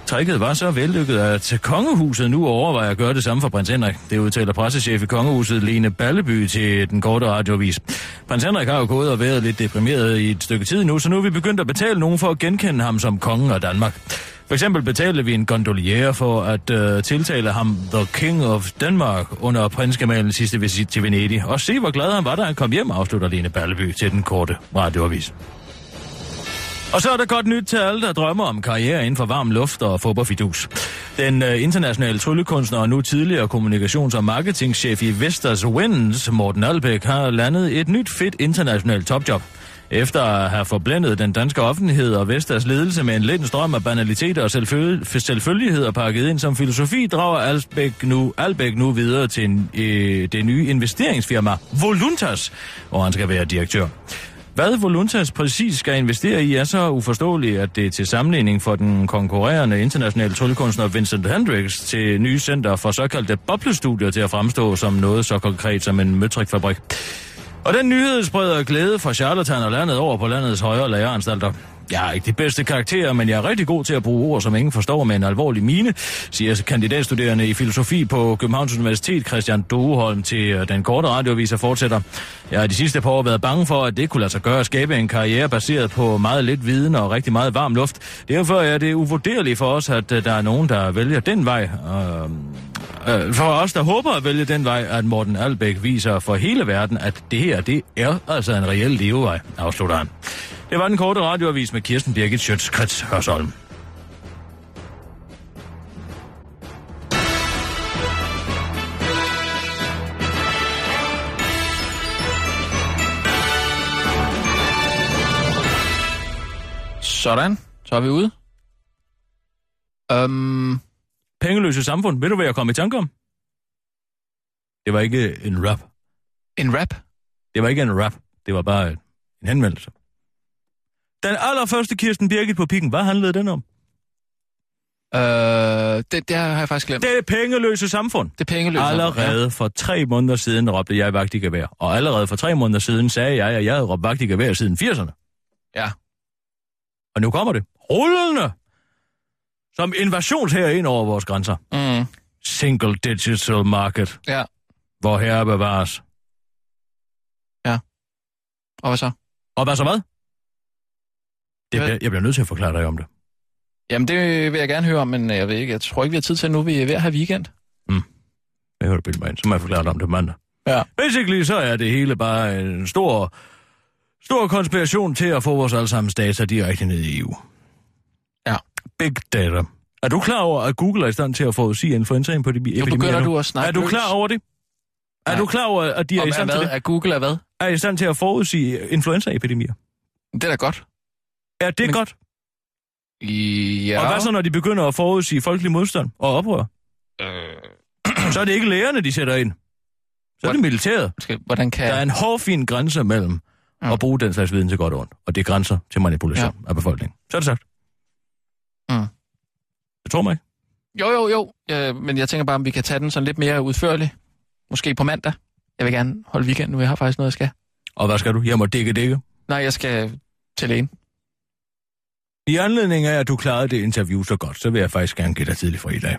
D: Tricket var så vellykket, at kongehuset nu overvejer at gøre det samme for prins Henrik. Det udtaler pressechef i kongehuset Lene Balleby til den korte radiovis. Prins Henrik har jo gået og været lidt deprimeret i et stykke tid nu, så nu er vi begyndt at betale nogen for at genkende ham som kongen af Danmark. For eksempel betalte vi en gondolier for at øh, tiltale ham The King of Denmark under prinsgemalens sidste visit til Venedig. Og se, hvor glad han var, da han kom hjem, afslutter Lene Balleby til den korte radioavis. Og så er der godt nyt til alle, der drømmer om karriere inden for varm luft og fodboldfidus. Den øh, internationale tryllekunstner og nu tidligere kommunikations- og marketingchef i Vestas Winds, Morten Albæk, har landet et nyt fedt internationalt topjob. Efter at have forblændet den danske offentlighed og Vestas ledelse med en lind strøm af banaliteter og selvfølge- selvfølgeligheder pakket ind som filosofi, drager Albæk nu, Albæk nu videre til en, øh, det nye investeringsfirma Voluntas, hvor han skal være direktør. Hvad Voluntas præcis skal investere i er så uforståeligt, at det til sammenligning for den konkurrerende internationale tryllekunstner Vincent Hendricks til nye center for såkaldte boblestudier til at fremstå som noget så konkret som en møtrikfabrik. Og den nyhed spreder glæde fra charlatan og landet over på landets højere læreranstalter. Jeg har ikke de bedste karakterer, men jeg er rigtig god til at bruge ord, som ingen forstår med en alvorlig mine, siger kandidatstuderende i filosofi på Københavns Universitet Christian Doeholm til øh, den korte radioavis og fortsætter. Jeg har de sidste par år været bange for, at det kunne lade sig gøre at skabe en karriere baseret på meget lidt viden og rigtig meget varm luft. Derfor er det uvurderligt for os, at øh, der er nogen, der vælger den vej. Øh, Øh, for os, der håber at vælge den vej, at Morten Albæk viser for hele verden, at det her, det er altså en reel levevej, afslutter han. Det var den korte radioavis med Kirsten Birgit Schøtz-Krets Hørsholm.
E: Sådan, så er vi ude. Øhm...
D: Pengeløse samfund, ved du, hvad jeg kom i tanke om? Det var ikke en rap.
E: En rap?
D: Det var ikke en rap, det var bare en henvendelse. Den allerførste Kirsten Birgit på pikken, hvad handlede den om?
E: Øh, det, det har jeg faktisk glemt.
D: Det pengeløse samfund.
E: Det pengeløse
D: Allerede for tre måneder siden råbte jeg vagt i gevær, og allerede for tre måneder siden sagde jeg, at jeg havde råbt vagt i gevær siden 80'erne.
E: Ja.
D: Og nu kommer det. Rullende! Som invasionshær ind over vores grænser.
E: Mm.
D: Single digital market,
E: Ja,
D: hvor herre bevares.
E: og hvad så?
D: Og hvad så hvad? Det,
E: Hvad?
D: bliver- jeg bliver nødt til at forklare dig om det.
E: Jamen, det vil jeg gerne høre om, men jeg, ved ikke, jeg tror ikke, vi har tid til nu. Vi er ved at have weekend.
D: Jeg hører bilde mig ind, så må jeg forklare dig om det mandag.
E: Ja.
D: Basically, så er det hele bare en stor, stor konspiration til at få vores allesammens data direkte ned i EU.
E: Ja.
D: Big data. Er du klar over, at Google er i stand til at forudsige influenzaen på de epidemier
E: begynder
D: nu?
E: du at snakke
D: Er du
E: løs.
D: klar over det? Er
E: Nej.
D: du klar over, at de er
E: Om
D: i,
E: er
D: stand til
E: hvad?
D: det?
E: Er Google er hvad?
D: er i stand til at forudsige influenzaepidemier?
E: Det er da godt.
D: Er det
E: Men-
D: Men... godt?
E: Ja.
D: Og hvad så, når de begynder at forudsige folkelig modstand og oprør? Øh. så er det ikke lægerne, de sætter ind. Så er det militæret.
E: Skal- Hvordan kan...
D: Der er en hårfin grænse mellem at bruge den slags viden til godt og ondt, og det er grænser til manipulation ja. af befolkningen. Så er det sagt.
E: Mm.
D: Det tror mig ikke.
E: Jo, jo, jo. Ja, men jeg tænker bare, om vi kan tage den sådan lidt mere udførligt. Måske på mandag. Jeg vil gerne holde weekend nu. Jeg har faktisk noget, jeg skal.
D: Og hvad skal du? Hjem og dække dække.
E: Nej, jeg skal til lægen.
D: I anledning af, at du klarede det interview så godt, så vil jeg faktisk gerne give dig tidlig fri i dag.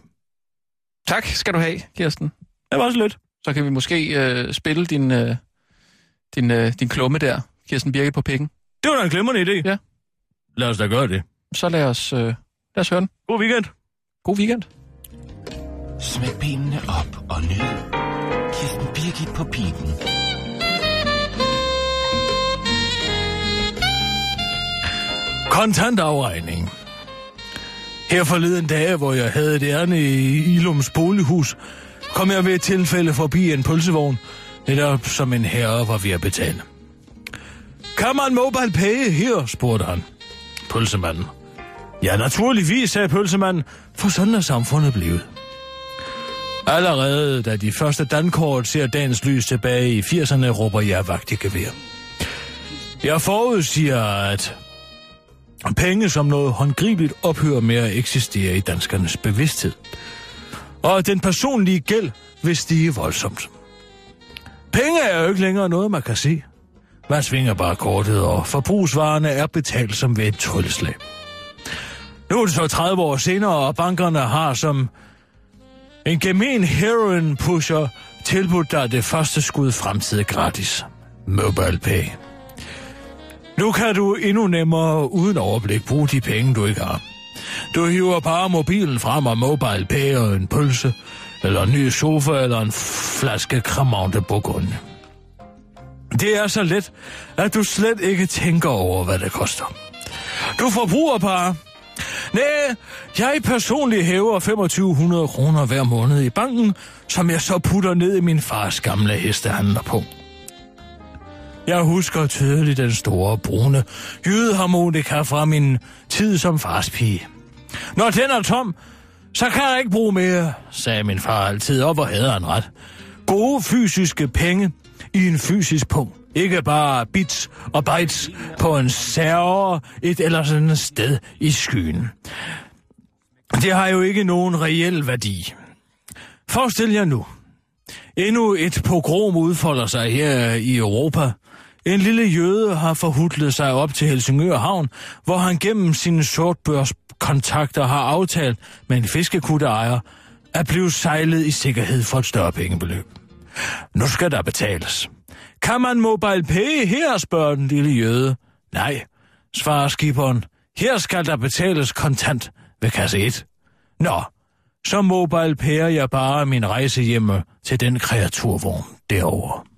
E: Tak skal du have, Kirsten.
D: Det var også lidt.
E: Så kan vi måske øh, spille din, øh, din, øh, din klumme der, Kirsten Birke på pikken.
D: Det var da en glimrende idé.
E: Ja.
D: Lad os da gøre det.
E: Så lad os, øh, lad os høre den.
D: God weekend.
E: God weekend.
N: Smæk benene op og ned. Kirsten Birgit på pipen.
D: Kontantafregning. Her forleden dag, hvor jeg havde det ærne i Ilums bolighus, kom jeg ved et tilfælde forbi en pølsevogn, netop som en herre var ved at betale. Kan man mobile pay her, spurgte han. Pølsemanden. Ja, naturligvis, sagde pølsemanden, for sådan er samfundet blevet. Allerede da de første dankort ser dagens lys tilbage i 80'erne, råber jeg vagt i gevær. Jeg forudsiger, at Penge som noget håndgribeligt ophører med at eksistere i danskernes bevidsthed. Og at den personlige gæld vil stige voldsomt. Penge er jo ikke længere noget, man kan se. Man svinger bare kortet, og forbrugsvarerne er betalt som ved et trylleslag. Nu er det så 30 år senere, og bankerne har som en gemen heroin pusher tilbudt dig det første skud fremtid gratis. Mobile Pay. Nu kan du endnu nemmere uden overblik bruge de penge, du ikke har. Du hiver bare mobilen frem og mobile pay og en pølse, eller en ny sofa, eller en flaske Cremante Bourgogne. Det er så let, at du slet ikke tænker over, hvad det koster. Du forbruger bare. Nej, jeg personligt hæver 2500 kroner hver måned i banken, som jeg så putter ned i min fars gamle hestehandler på. Jeg husker tydeligt den store brune jydeharmonika fra min tid som farspige. Når den er tom, så kan jeg ikke bruge mere, sagde min far altid, og hvor havde han ret. Gode fysiske penge i en fysisk punkt. Ikke bare bits og bytes på en server et eller andet sted i skyen. Det har jo ikke nogen reel værdi. Forestil jer nu, Endnu et pogrom udfolder sig her i Europa. En lille jøde har forhudlet sig op til Helsingør Havn, hvor han gennem sine sortbørskontakter har aftalt med en fiskekutteejer at blive sejlet i sikkerhed for et større pengebeløb. Nu skal der betales. Kan man mobile pay her, spørger den lille jøde. Nej, svarer skiberen. Her skal der betales kontant ved kasse 1. Nå, så mobile pærer jeg bare min rejse hjemme til den kreaturvogn derovre.